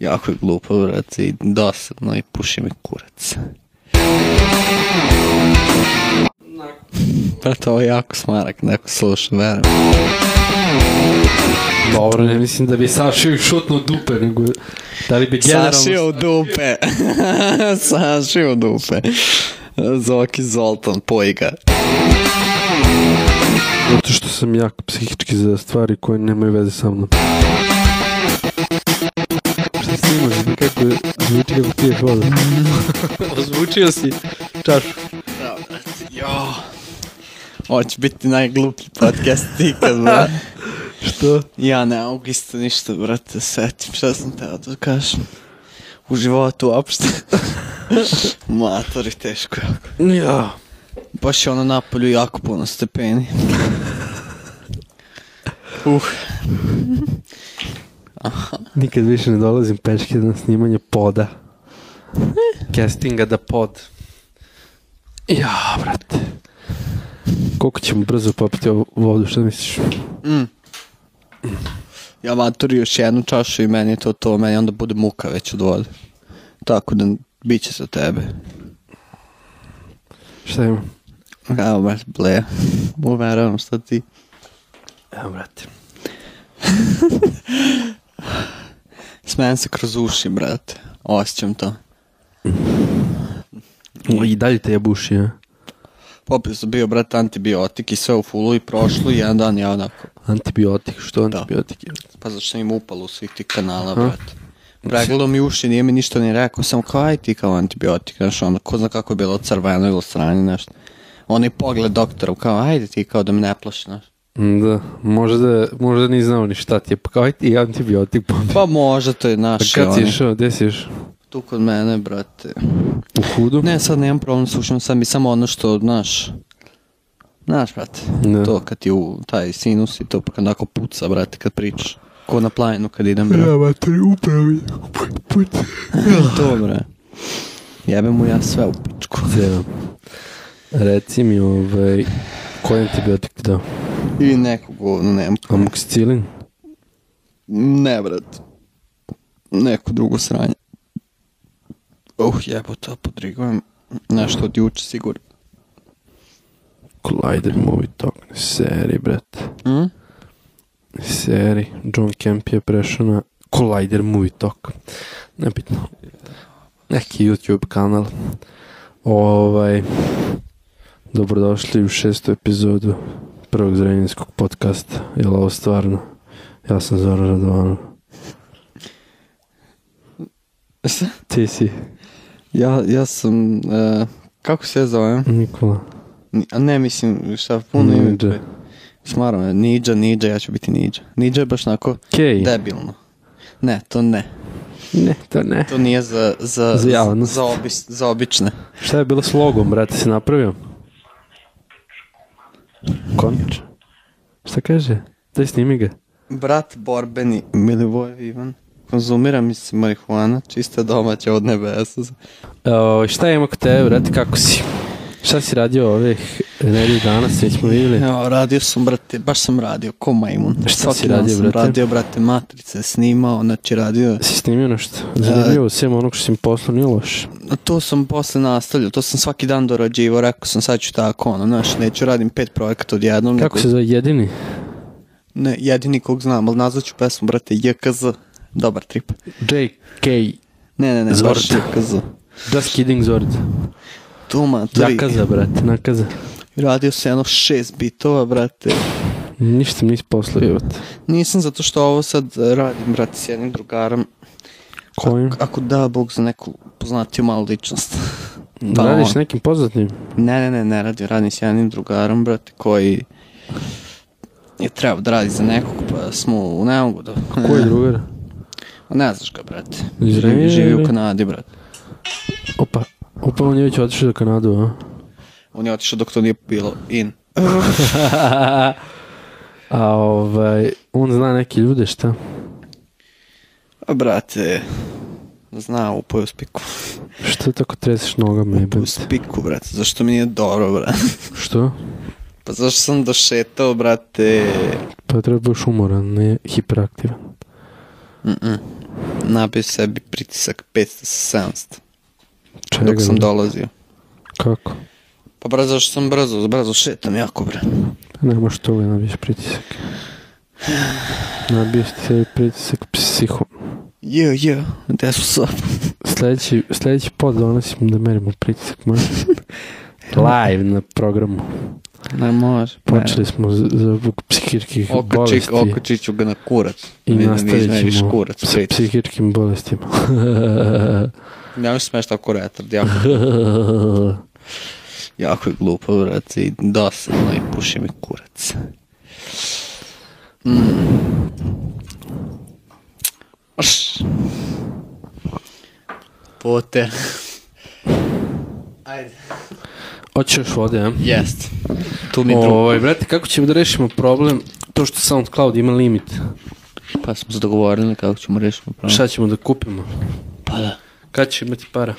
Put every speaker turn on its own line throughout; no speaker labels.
Jako je glupo, brate, i dosadno i puši mi kurac. Brate, ovo je jako smarak, neko sluša, verujem.
Dobro, ne mislim da bi Saša ih šutno dupe, nego da li bi generalno...
Sašio u dupe. Sašio u dupe. Zoki Zoltan, pojga.
Zato što sam jako psihički za stvari koje nemaju veze sa mnom. Šta snimaš? Kako je- zvuči kako piješ vodu? Ozvučio si čašu.
Jo. Ovo će biti najgluplji podcast ikad, brate.
Što?
Ja ne mogu isto ništa, brate, setim šta sam teo da kažem. U životu uopšte. Matori, teško jako.
Ja.
Baš je ono napolju jako puno stepeni. Uh,
Nikad više ne dolazim pečke na snimanje poda. Eh. Castinga da pod. Ja, brate. Koliko ćemo brzo popiti ovu vodu, šta misliš?
ja maturi još jednu čašu i meni je to to, meni onda bude muka već od vode. Tako da bit će za tebe.
Šta ima?
Evo, baš ble. Uveravam šta ti.
Evo, brate.
Smejem se kroz uši, brate. Osjećam to.
I dalje te jebuši, a?
Popio sam bio, brate, antibiotik i sve u fulu i prošlo i jedan dan ja onako.
Antibiotik, što antibiotik je?
Pa zašto sam im upalo u svih tih kanala,
Aha.
brate. Pregledao mi uši, nije mi ništa ni rekao, sam kao aj ti kao antibiotik, znaš, ono, ko zna kako je bilo crveno ili strani, nešto. Onaj pogled doktora, kao, ajde ti kao da me ne plaši, znaš.
Da, možda, možda ni znao ni šta ti je, pa kao aj ti antibiotik pompi.
Pa može, to je
Pa
naš,
kad si
oni,
išao, gde si išao?
tu kod mene, brate.
U hudu?
Ne, sad nemam problem s ušima, sad mi samo ono što, znaš, znaš, brate,
Da.
to kad ti u taj sinus i to, pa kad onako puca, brate, kad pričaš. Ko na planinu kad idem, brate.
materi, upravo je. Put.
Dobro. Jebe mu ja sve u pičku.
Reci mi, ovaj, koji antibiotik ti dao?
I neku govnu nemam.
Amoxicilin?
Ne, brat. Neko drugo sranje. Uh, jebota, podrigujem. Nešto od juče, sigurno.
Collider Movie Talk, seri, brate.
Hm?
Seri. John Kemp je prešao na Collider Movie Talk. Nebitno. Neki YouTube kanal. Ovaj, dobrodošli u šestu epizodu prvog zrenjinskog podcasta. Je li ovo stvarno? Ja sam Zoran Radovanov. Ti si
Ja, ja sam... e, kako se ja zovem?
Nikola.
Ni- A ne, mislim, šta puno ime.
Nidža.
pre- Smaram, me, Nidža, Nidža, ja ću biti Nidža. Nidža je baš onako
Kej.
debilno. Ne, to ne.
Ne, to ne.
To nije za, za,
Za javnost.
za, obis- za obične.
Šta je bilo s logom, brate, si napravio? Konč. Šta kaže? Daj snimi ga.
Brat borbeni Milivojev Ivan konzumira mi se marihuana, čista domaća od nebesa.
O, E, ovaj, šta ima kod tebe, brate, kako si? Šta si radio ovih nedelju dana, sve smo vidjeli?
Ja, radio sam, brate, baš sam radio, ko majmun.
Šta
Svaki
si
dan
radio,
sam
brate?
radio, brate, matrice, snimao, znači radio.
Si snimio nešto? Zanimljivo, sem onog što si mi poslao, nije loš.
A to sam posle nastavljao, to sam svaki dan dorađivo, rekao sam sad ću tako, ono, znaš, neću radim pet projekata odjednom.
Kako
nego-
se zove, jedini?
Ne, jedini kog znam, ali nazvat ću pesmu, brate, JKZ. Dobar trip.
J.K.
Ne, ne, ne, baš
Zorta.
JKZ.
Just kidding, Zord.
Tu, maturi,
Jakaza, brate, nakaza.
radio sam jedno šest bitova, brate.
Ništa mi nisi poslao, jebote.
Nisam zato što ovo sad e, radim, brate, s jednim drugarom.
Kojim?
Ako da, Bog za neku poznatiju malu ličnost. Pa
Radiš
on.
s nekim poznatim?
Ne, ne, ne, ne radim, radim s jednim drugarom, brate, koji je trebao da radi za nekog, pa smo u neugodu.
Koji drugar?
Ne znaš ga, brate.
Iz
Živi,
Renija
živi u
ili?
Kanadi, brate.
Opa, opa, on je već otišao do Kanadu, a?
On je otišao dok to nije bilo in.
A ovaj, on zna neke ljude, šta?
A, brate, zna, upoj u spiku.
Što tako treseš nogama,
U
jebate?
spiku, brate, zašto mi nije dobro, brate?
Što?
Pa zašto sam došetao, brate?
Pa treba budeš umoran, ne hiperaktivan.
Mm-mm. nabio sebi pritisak 500 sa 700
Čega?
dok sam
bre?
dolazio.
Kako?
Pa brzo što sam brzo, brzo šetam jako bre.
Nema što li nabiješ pritisak. Nabiješ ti sebi pritisak psihom.
Jo, jo, gde su sob?
Sljedeći, sljedeći pod donosim da merimo pritisak. može? Live na programu.
Ne može.
Počeli smo z- za zbog psihičkih
Okočik,
bolesti
okočit ću ga na kurac.
i
Vidim,
nastavit
izmeriš
ćemo
kurac,
sa
pritis.
psihičkim bolestima.
Ne možeš smeš tako retard, jako, jako je glupo, vrat, i dosadno i puši mi kurac. Mm. Š. Poter. Ajde.
Hoće još vode, a?
Jest. Tu mi drugo.
Ovaj, brate, kako ćemo da rešimo problem to što SoundCloud ima limit?
Pa smo se dogovorili kako ćemo rešiti problem.
Šta ćemo da kupimo?
Pa da.
Kad će imati para?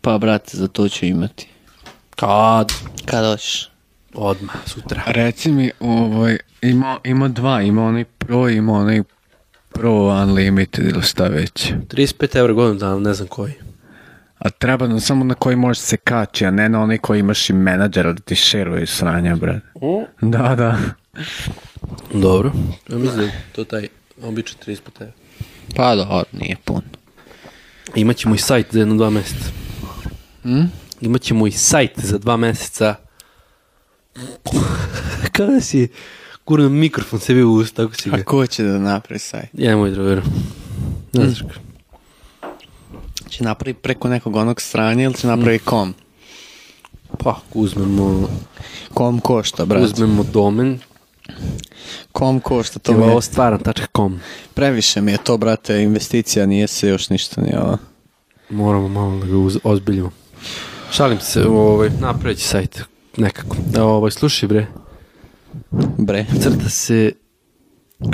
Pa brate, za to ću imati.
Kad?
Kada hoćeš?
Odmah, sutra.
Reci mi, ovaj, ima, ima dva, ima onaj Pro, ima onaj Pro Unlimited ili šta već.
35 evra godinu dana, ne znam koji.
A treba nam samo na koji možeš se kaći, a ne na onaj koji imaš i menadžera da ti šeruje sranja, brad. Da, da.
Dobro. Ja mislim da je to taj običaj 35 evra.
Pa da, nije puno.
Imaćemo i sajt za jedno dva meseca.
Hmm?
Imaćemo i sajt za dva meseca. Kada si kurno mikrofon sebi u usta, tako si ga.
A ko će da napravi sajt?
Ja moj drugar. Ne znaš kako.
Će napravi preko nekog onog stranja ili će napravi kom?
Pa, ako uzmemo,
Kom košta, brate.
uzmemo domen,
Kom košta, to
to
mi
je ovo
je...
stvaran.com.
Previše mi je to, brate, investicija, nije se još ništa ni ovo.
Moramo malo da ga uz, ozbiljimo. Šalim se, ovaj, napravit će sajt nekako. Ovaj, slušaj bre,
Bre.
crta se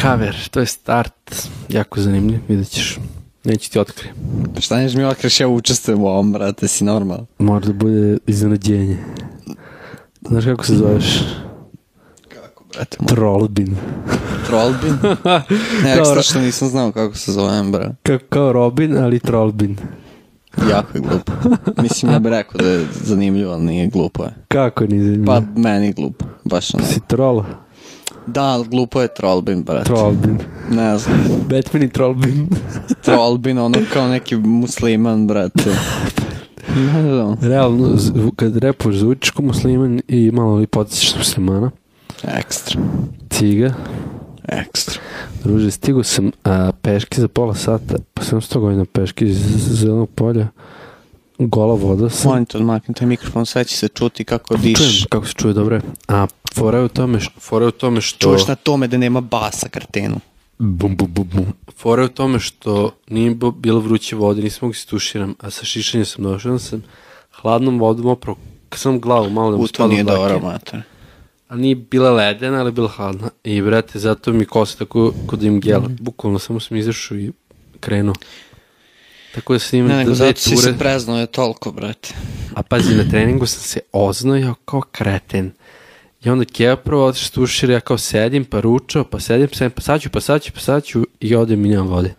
cover, to je start, jako zanimljiv, vidjet ćeš. Neću ti otkrije.
Pa Šta neš mi okreš, ja učestvujem u ovom, brate, si normal.
Mora da bude iznenađenje. Znaš kako se zoveš?
Kako, brate, moj
Trollbin.
trollbin? ne, ekstra
Dobro.
što nisam znao kako se zovem, brate.
Kao, kao Robin, ali Trollbin.
Jako je glupo. Mislim, ja bih rekao da je zanimljivo, ali nije glupo je.
Kako nije
Pa,
zanimljivo?
meni je glupo, baš ono.
Mm. Si troll?
Da, ali glupo je trollbin, brate.
Trollbin.
Ne znam,
Batman i Trollbin.
trollbin, ono kao neki musliman, brate. Ne znam.
Realno, zvu- kad repuš zvučiš ko musliman i malo i podsjećaš na muslimana.
Ekstra,
Ciga.
ekstra.
Druže, stigo sam a, peške za pola sata. Pa sam sto godina peške iz iz zelenog polja. Gola voda sam.
Molim te odmakni taj mikrofon, sve će se čuti kako
Čujem
diš.
kako se čuje, dobro Pa je. A fora je u tome, š- fora je u tome što...
Čuješ na tome da nema basa kartenu.
Bum, bum, bum, bum. Fora je u tome što nije bo- bilo vruće vode, nisam mogu se tuširam, a sa šišanjem sam došao, onda sam hladnom vodom oprao sam glavu, malo da
U
mu
to
spadnu
nije
dlake.
dobro, mater.
A nije bila ledena, ali je bila hladna. I brate, zato mi kosa tako kod im
Mhm.
gela. Bukvalno samo sam izašao i krenuo. Tako da sam
Ne,
imao
nego
dve
zato si
ture.
se preznuo je toliko, brate.
A pazi, na treningu sam se oznojao kao kreten. I onda Keva prvo otišla tušira, ja kao sedim, pa ručao, pa sedim, pa sedim, pa sad ću, pa sad ću, pa sad ću i odem i nemam vode.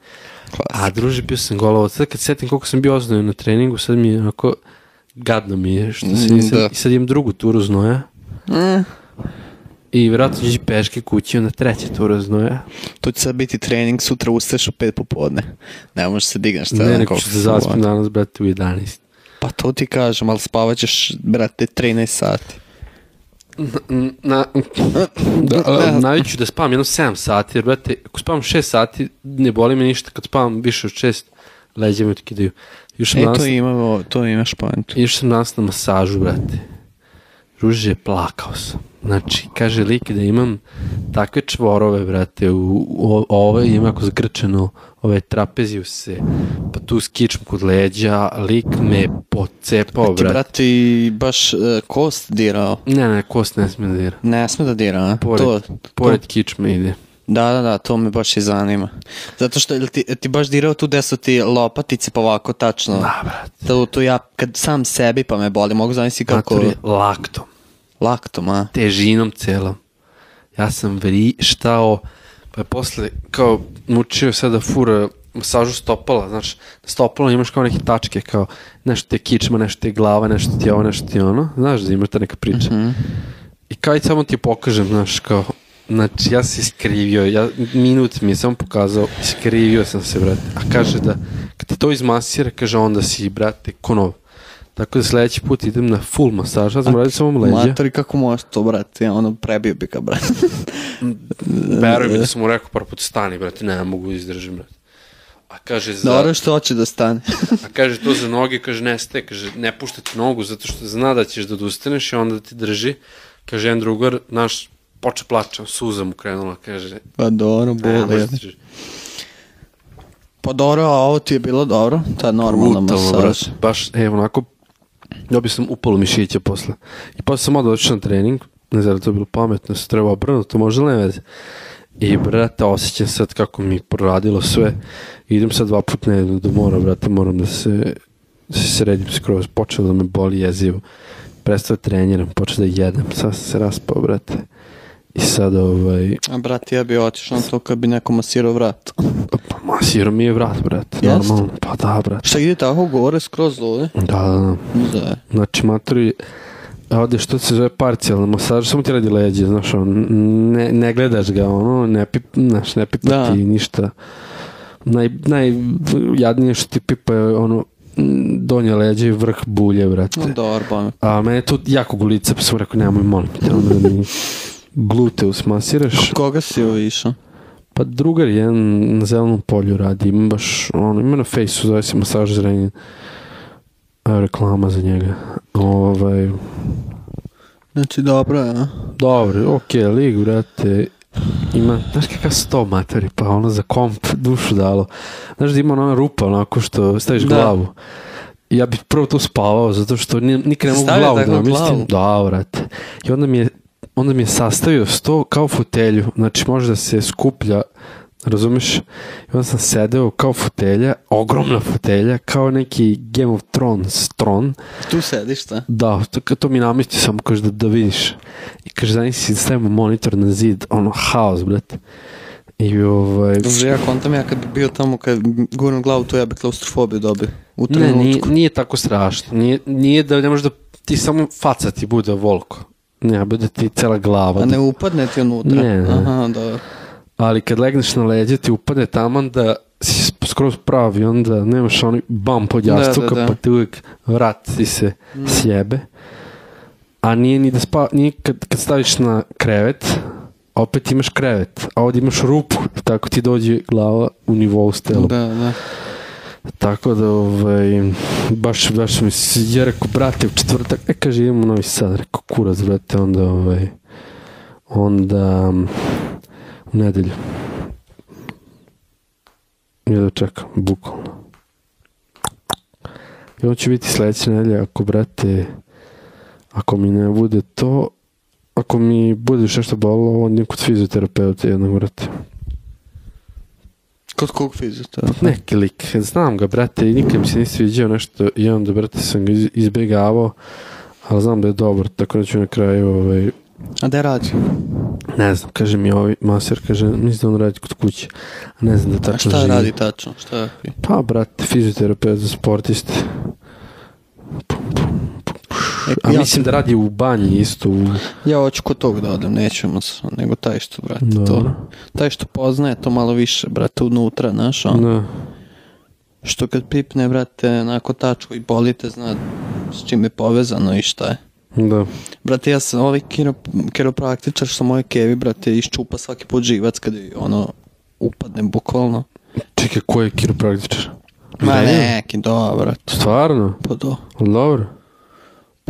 A
Klas.
druže, bio sam golovac. Sad kad setim koliko sam bio oznojen na treningu, sad mi je onako gadno mi je što se
Mm,
nisam...
da.
I sad imam drugu turu znoja.
Mm.
I vjerojatno ću ići peške kući, onda treća tura znoja.
To će sad biti trening, sutra ustaješ u pet popodne. Ne možeš se digneš. šta ja
ne,
znam
neko
koliko
ću
si
se zaspim
ovo.
danas, brate, u 11.
Pa to ti kažem, ali spavaćeš, brate, 13 sati.
Na, na, da, a, naviću da spavam jedno 7 sati, jer brate, ako spavam 6 sati, ne boli me ništa, kad spavam više od 6, leđe mi otkidaju. Još sam,
E,
danas,
to, ima, to imaš pojentu.
još sam danas na masažu, brate. Ruže, plakao sam. Znači, kaže lik da imam takve čvorove, brate, u, u, ove ima ako zgrčeno, ove trapeziju se, pa tu skičem kod leđa, lik me pocepao,
Ti,
brate.
brate, i baš e, kost dirao.
Ne, ne, kost ne smije da dira.
Ne sme da dira, a?
Pored,
to,
pored kičme ide.
Da, da, da, to me baš i zanima. Zato što jel ti, jel ti baš dirao tu gde su ti lopatice pa ovako tačno.
Da, brate.
To, to ja kad sam sebi pa me boli, mogu zamisliti kako
Matori, laktom,
laktom, a?
težinom celom. Ja sam vrištao, pa je posle, kao, mučio sada fura masažu stopala, znaš, na stopalom imaš kao neke tačke, kao nešto ti je kičma, nešto ti je glava, nešto ti je ovo, nešto ti je ono, znaš da imaš ta neka priča. I kao i samo ti pokažem, znaš, kao, znači ja se iskrivio, ja, minut mi je samo pokazao, iskrivio sam se, brate. A kaže da, kad ti to izmasira, kaže onda si, brate, ko nov. Tako da sledeći put idem na full masaž, sad sam radio samo leđa.
Matori, kako možeš to, brate? Ja ono prebio bi ga, brate.
Veruj mi da sam mu rekao par puta stani, brate, ne mogu da izdržim, brate. A kaže, za,
Dobro što hoće da stane.
a kaže to za noge, kaže ne staje, kaže ne pušta ti nogu zato što zna da ćeš da odustaneš i onda ti drži. Kaže jedan drugar, naš, poče plaća, suza mu krenula, kaže,
Pa dobro,
ne,
boli.
može
je.
da drži.
Pa dobro, a ovo ti je bilo dobro, ta normalna
Brutalno,
masaž.
brate, baš, e, onako, dobio sam upalo mišića posle. I posle sam odao otišao na trening, ne znam da li to je bilo pametno, se treba obrnuti, to možda ne veze. I, brate, osjećam sad kako mi proradilo sve. Idem sad dva put nedeljno do mora, brate, moram da se, da se sredim skroz. Počelo da me boli jezivo. Prestao da treniram, počeo da jedem. Sad sam se raspao, brate. I sad, ovaj,
A brate, ja bi otišao na to kad bi neko masirao vrat.
pa masirao mi je vrat, brate.
Jeste?
Normalno, pa da, brate.
Šta ide tako gore skroz dole?
Da, da, da.
Da.
Znači, maturi, ovde što se zove parcijalna masaž, samo ti radi leđe, znaš, on, ne, ne gledaš ga, ono, ne, pip, znaš, ne pipa
Da.
ti ništa. Naj, najjadnije što ti pipa je ono, mm, donje leđe i vrh bulje, brate.
No, dobro, bome.
A mene to jako gulica, pa sam rekao, nemoj, molim te, ono da mi gluteus masiraš.
Koga si ovo išao?
Pa drugar jedan na zelenom polju radi, ima baš, ono, ima na fejsu, zove se masaž zrenje. Reklama za njega. Ovaj,
Znači, dobro, ja.
Dobro, okej, lig, brate, ima, znaš kakav su to materi, pa ono za komp dušu dalo. Znaš da ima ona rupa onako što staviš
Da.
glavu. Ja bih prvo to spavao, zato što ni- nikad ne mogu
Stavio
glavu da
tako
namislim.
glavu?
Da, brate. I onda mi je, onda mi je sastavio sto kao fotelju, znači može da se skuplja, razumeš? I onda sam sedeo kao fotelja, ogromna fotelja, kao neki Game of Thrones tron,
Tu sediš, šta?
da, to, kad to mi namesti samo kaže da, da vidiš. I kaže da nisi stavimo monitor na zid, ono haos, brate. I ovaj...
Dobro, ja kontam ja kad bi bio tamo, kad bi gurnu glavu, to ja bi klaustrofobiju dobio. U
Ne,
trenutku.
nije, nije tako strašno. Nije, nije da ne možeš da ti samo faca ti bude volko. Ne, bude ti cela glava.
A ne upadne ti unutra?
Ne, ne.
Aha, dobro.
Ali kad legneš na leđe ti upadne taman da si sp- skroz pravi, onda nemaš onaj bam pod
Da, da,
jastuka,
da. Mm.
pa ti uvijek vrat ti se sjebe. A nije ni da spa, nije kad, kad staviš na krevet, opet imaš krevet, a ovdje imaš rupu, tako ti dođe glava u nivou s telom.
Da, da.
Tako da, ovaj, baš, baš mi se, ja rekao, brate, u četvrtak, e, kaže, idemo u Novi Sad, rekao, kurac, brate, onda, ovaj, onda, um, u nedelju. Ja da čekam, bukvalno. I ovo će biti sledeće nedelje, ako, brate, ako mi ne bude to, ako mi bude još nešto bolilo, onda idem kod fizioterapeuta jednog, brate.
Kod kog fizioterapeuta?
Neki lik, znam ga, brate, i nikad mi se nisi viđao nešto i onda, brate, sam ga iz- izbjegavao, ali znam da je dobar, tako da ću na kraju, ovaj,
A da radi?
ne znam, kaže mi ovi maser, kaže, mislim da on radi kod kuće, a ne znam da
A
tačno
šta
živi.
radi tačno? Šta je?
Pa, brate, fizioterapeut za sportiste.
E,
A
ja,
mislim da radi u banji isto, u...
ja hoću kod tog da odem, nećemo se, nego taj što, brate,
Dobro.
Pa, to. Taj što poznaje to malo više, brate, unutra, znaš, on.
Da.
Što kad pipne, brate, onako tačku i bolite, zna s čim je povezano i šta je.
Da.
Brate, ja sam ovaj kiro, kiropraktičar što moje kevi, brate, iščupa svaki put živac kad joj, ono upadne bukvalno.
Čekaj, ko je kiropraktičar?
Ma
Da li je?
neki, dobro, brate.
Stvarno?
Pa do.
Dobro.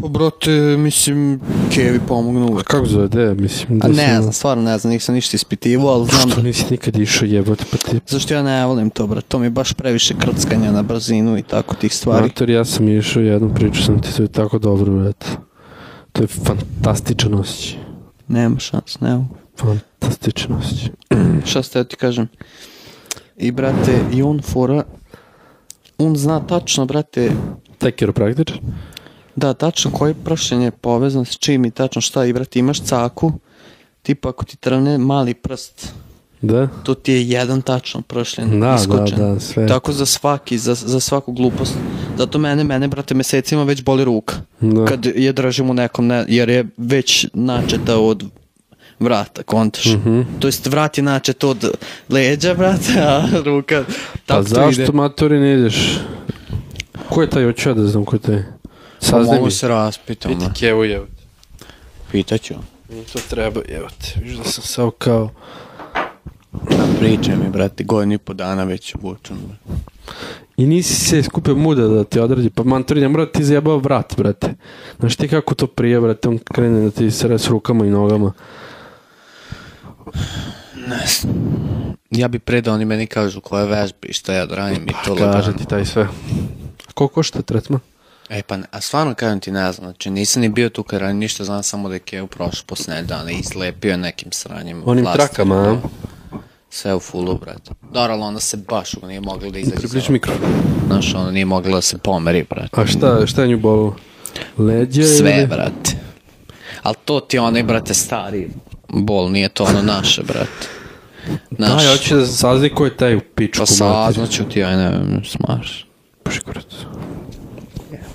Pa, brate, mislim, kevi pomognu
A
uvek.
Pa kako zove, gde je, mislim?
A
da
ne
sam-
znam, stvarno ne znam, nisam ništa ispitivao, ali znam
Što
da...
nisi nikad išao jebote, pa ti
Zašto ja ne volim to, brate, to mi je baš previše krckanja na brzinu i tako tih stvari.
Mater, ja sam išao jednu priču, sam ti to je tako dobro, brate. To je fantastičan osjećaj.
Nema šans, ne mogu.
Fantastičan osjećaj.
šta ste ti kažem i brate i on fora on zna tačno brate
Taj kiropraktičar?
da tačno koje pršenje je povezano s čim i tačno šta i brate imaš caku tipa ako ti trne mali prst
Da? Pa
Tu ti je jedan tačno prošljen,
Da,
iskočen.
da, da, sve.
Tako za svaki, za, za svaku glupost. Zato mene, mene, brate, mesecima već boli ruka.
Da.
Kad je držim u nekom, ne, jer je već načeta od vrata, kontaš.
Mhm.
To jest vrat je načet od leđa, brate, a ruka
Pa
tako
zašto
ide.
matori ne ideš? Ko je taj očeo da znam ko je taj?
Pa
Saznaj
mogu
mi.
se raspitam. ono.
Piti
ne.
kevo jevati.
Pitaću.
To treba jevati. Viš da sam sao kao...
Pričaj mi, brate, godinu i po dana već obučen. brate.
I nisi se skupio muda da ti odradi. Pa matori ne mora da ti zajebava vrat, brate. Znaš ti kako to prije, brate, on krene da ti sere s rukama i nogama.
Ne znam. Ja bi pre da oni meni kažu koje vežbe i šta ja da radim i to
Pa Kaže
lagano.
ti taj sve. A koliko košta tretman?
E pa, ne- a stvarno kažem ti ne znam, znači nisam ni bio tu kad radim ništa, znam samo da je Keo prošao posljednje dana i slepio je nekim sranjem.
Onim
plastikom,
trakama, a?
da. Sve u fullu, brate. Dobro, ali ona se baš ono, nije mogla da izađe.
Približi
za-
mikrofon.
Znaš, ona nije mogla da se pomeri, brate.
A šta, šta je nju bolo? Leđe
Sve,
ili?
brate. Ali to ti je onaj, brate, stari bol, nije to ono naše, brate.
Da,
Naš,
ja hoću da sazni ko je taj u pičku.
pa
mater.
saznaću ti, aj ne vem, smaš.
Puši kurac.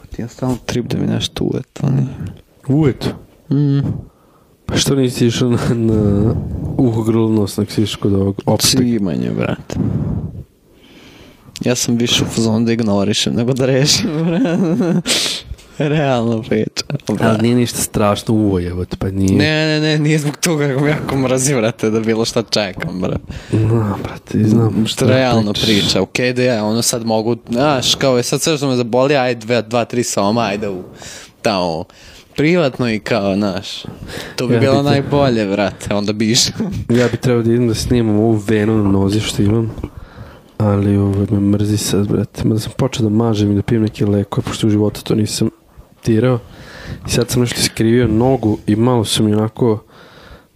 Pa Ti je stalno trip da mi nešto uvet, ali...
Uvijek. Pa što nisi išao na, na uh, grlnos, nek si išao kod ovog opet.
Cimanje, brate. Ja sam više u fazonu da ignorišem nego da rešim, brate. Realno priča. brate.
Ali nije ništa strašno uvojevati, pa nije.
Ne, ne, ne, nije zbog toga kako me jako mrazi, brate, da bilo šta čekam, brate.
No, brate, znam. Znači-
Što realno priča, okej da ja ono sad mogu, znaš, kao je sad sve što me zaboli, ajde dva, dva tri soma, ajde u tamo privatno i kao, znaš, to bi
Ja
bilo
bi te-
najbolje, brate, onda bi išao.
Ja bi trebao da idem da snimam ovu venu na nozi što imam. Ali ovaj, me mrzi sad, brate. Mada sam počeo da mažem i da pijem neke lekove, pošto u životu to nisam tirao. I sad sam nešto skrivio nogu i malo sam i onako...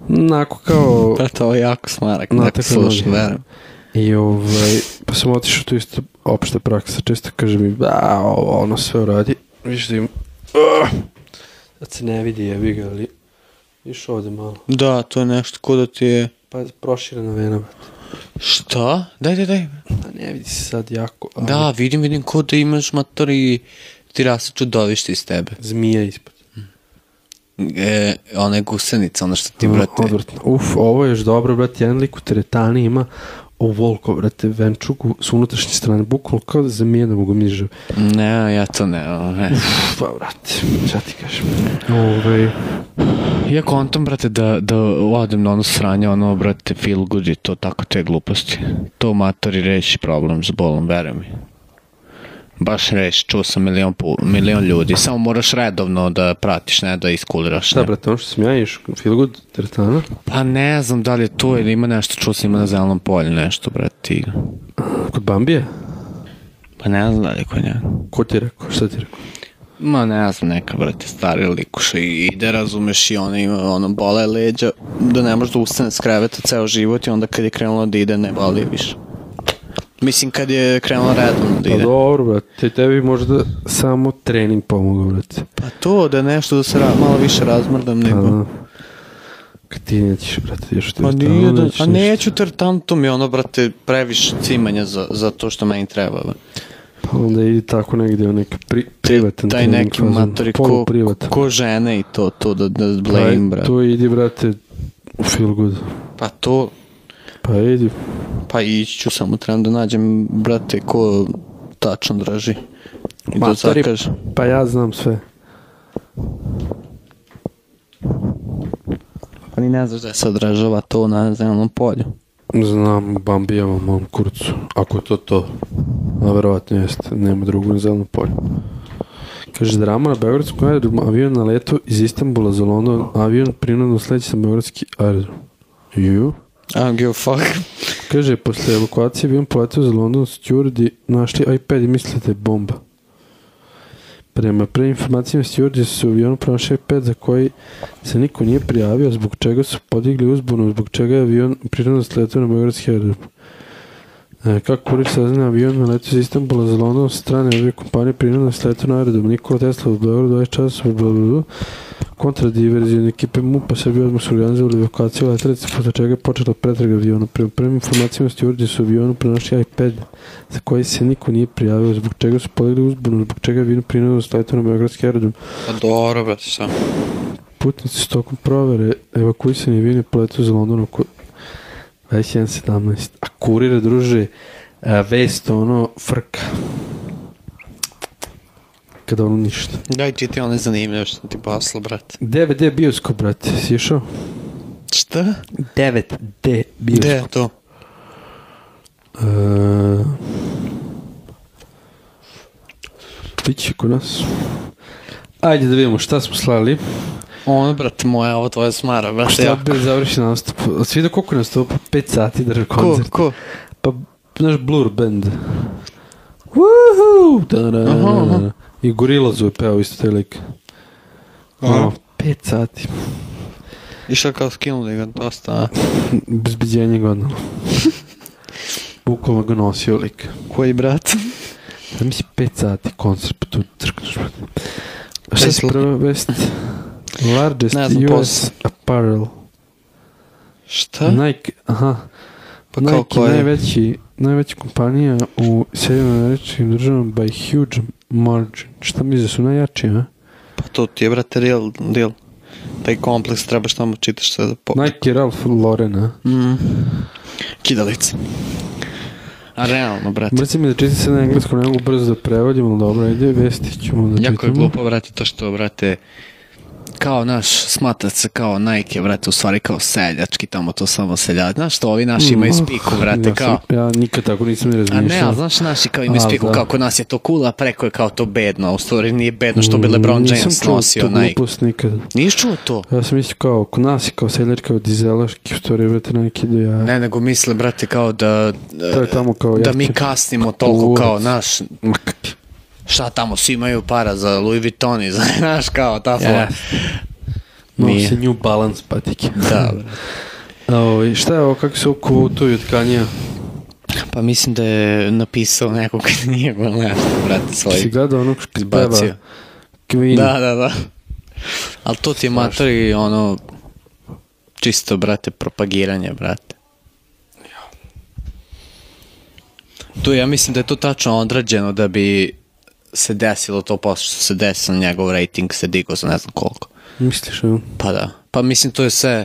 Onako kao...
Brate, ovo je jako smarak,
Na
neko
tako
slušam,
noge.
verujem.
I ovaj, pa sam otišao tu isto opšta praksa, često kaže mi, a, ovo, ono sve uradi, viš da im, Ah! sad se ne vidi, jebi ga, ali, viš ovde malo,
Da, to je nešto ko da ti je...
pa je proširena vena, brate,
Šta? Daj, daj, daj.
a ne vidi se sad jako, ali
Da, vidim, vidim ko da imaš matori ti raste čudovište iz tebe.
zmija ispod.
E, ona je gusenica, ono što ti,
Mm,
brate,
Odvratno. Uf, ovo je još dobro, brate, jedan lik u teretani ima ovoliko, brate, venčugu s unutrašnje strane, bukvalo kao da zamijenom ga miže.
ne, ja to ne, ono, ne.
Pa, brate, šta ti kažem? Ovaj,
Pa Ja kontam, brate, da, da odem na ono sranje, ono, brate, feel good i to, tako te gluposti. To matori reši problem s bolom, veruj mi. Baš reši, čuo sam milion, pu- milion ljudi, samo moraš redovno da pratiš, ne da iskuliraš.
šta,
ne.
brate, ono što sam ja išao, feel good, teretana?
Pa ne znam da li je to ili ima nešto, čuo sam ima na zelenom polju nešto, brate, tigra.
Kod Bambije?
Pa ne znam da li je kod njega.
Ko ti je rekao? Šta ti je rekao?
Ma ne znam, neka, brate, stari likuša i ide, razumeš, i ona ima, ono, bole leđa, da ne može da ustane s kreveta ceo život i onda kad je krenula da ide, ne boli je više. Mislim, kad je krenula redom da
Pa
ide.
dobro, brate, tebi možda samo trening pomogao, brate.
Pa to, da nešto, da se ra- malo više razmrdam
Pa,
nego...
da. Kad ti nećeš, brate, još ti
Pa
ostalo,
nije da,
nećeš
a
ništa.
neću tertan, to mi je ono, brate, previše cimanja za, za to što meni treba. bro.
Pa onda idi tako negdje u neki pri, privatan
Taj
trening
neki
fazon,
matori ko,
poluprivatan.
ko žene i to, to da, da
Aj,
blame, brate.
To Pa, idi, brate, u feel good.
Pa to,
Pa idi,
pa ići ću samo, trebam da nađem, brate, ko tačno draži. I da
Matori-
zakažem.
pa ja znam sve.
Pa ni ne znaš da se odražava to na zelenom polju.
Znam Bambijevom mom kurcu, ako je to to. A verovatno jeste, nema drugu na zeleno polje. Kaže, drama na Beogradskom aerodromu, avion na letu iz Istanbula za London, avion prinudno sleći na Beogradski aerodrom. Ju?
I don't give a fuck.
Kaže, posle evakuacije avion poletio za London, stjurdi našli iPad i mislite da je bomba. Prema prvim informacijama stjurdi su u avionu pronašli iPad za koji se niko nije prijavio, zbog čega su podigli uzbunu, zbog čega je avion prirodno sletio na Beogradski aerodrom. E, Kako kurir sazna avion na letu iz Istanbula za London sa strane avio kompanije prirodno sletio na aerodrom Nikola Tesla u Beogradu 20 časa, bla, bla, bla. Kontradiverzivne ekipe MUPA Srbije odmah su organizovali evakuaciju letelice, posle čega je počela pretraga aviona. Prema prvim informacijama stjurđe su avionu pronašli iPad za koji se niko nije prijavio, zbog čega su polegli uzbunu, zbog čega je avion prinao stajto na Beogradski aerodrom.
Pa dobro, brate, šta?
Putnici su tokom provere evakuisani avion je poletao za London oko 21.17. A kurira, druže, a, vest ono frka. Kada ono ništa.
Daj, čiti one zanimljive što ti
Baslo, brate.
9D bioskop, brate, si išao?
Šta?
9D
Gde je to?
E, Biće kod nas. Ajde da vidimo šta smo slali.
Ono, brate, moja, ovo tvoja smara, brate.
Šta je
jako.
bio završen nastup? Svi do koliko je nastupa? 5 sati drži
Ko,
koncert.
ko?
Pa, znaš, Blur band. Woohoo! Da, da, da,
Aha,
da,
aha.
da. I Gorillazu je peo isto taj lik.
Aha.
5 sati.
Išao kao skinuli ga dosta, a?
Bezbiđenje godno. Bukvalno ga nosio lik.
Koji brat?
Da misli 5 sati koncert, pa tu crkneš. brate. A Šta si
Tesla.
prva vest? Largest
Ne znam,
US apparel.
Šta?
Nike, aha.
Pa kao
Nike,
koji?
najveći, najveća kompanija u Sjedinom američkim državama by huge margin. Šta misliš da su najjači, a?
Pa to ti je, brate, real deal. Taj kompleks treba šta mu čitaš sve da po...
Nike Ralph Lauren, a?
Mm. Kidalica. A realno, brate.
Mrzim mi da čitam se na engleskom, ne mogu brzo da prevodim, ali dobro, ajde, vesti ćemo da
Jako je
čitamo.
glupo, brate, to što, brate, kao naš, smatra se kao Nike, brate, u stvari kao seljački, tamo to samo seljač. Znaš što, ovi naši imaju
Mm,
spiku,
ja
brate, kao...
sam- Ja nikad tako nisam ni
A
razmišljao.
ne, ali znaš, naši kao imaju
A,
spiku,
da.
kao kod nas je to cool, a preko je kao to bedno. a U stvari nije bedno što bi LeBron
Mm, Nisam
James
čuo
nosio
tu
Nike.
glupost nikad.
Nisi čuo to?
Ja sam mislio kao, kod nas je kao seljač kao dizelaški, u stvari vrati neki do ja.
Ne, nego misle, brate, kao da...
to je tamo kao
da
jaki.
mi kasnimo toliko
Kurac.
kao, naš,
Ma kak-
šta tamo, svi imaju para za Louis Vuitton i za, znaš, kao, ta fora.
Ja. Nosi
Nije.
New Balance patike.
Da, brate.
A, ovaj, šta je ovo, kako se ovo kvotuju od kanija?
Pa mislim da je napisao neko kad nije bilo nešto, brate,
Si
svoj.
gledao onog što peva
Izbacio.
Queen?
Da, da, da. Ali to ti je matori, ono, čisto, brate, propagiranje, brate. Tu ja mislim da je to tačno odrađeno da bi se desilo to posle što se desilo, njegov rating se digao za ne znam koliko.
Misliš, evo?
Pa da. Pa mislim to je sve,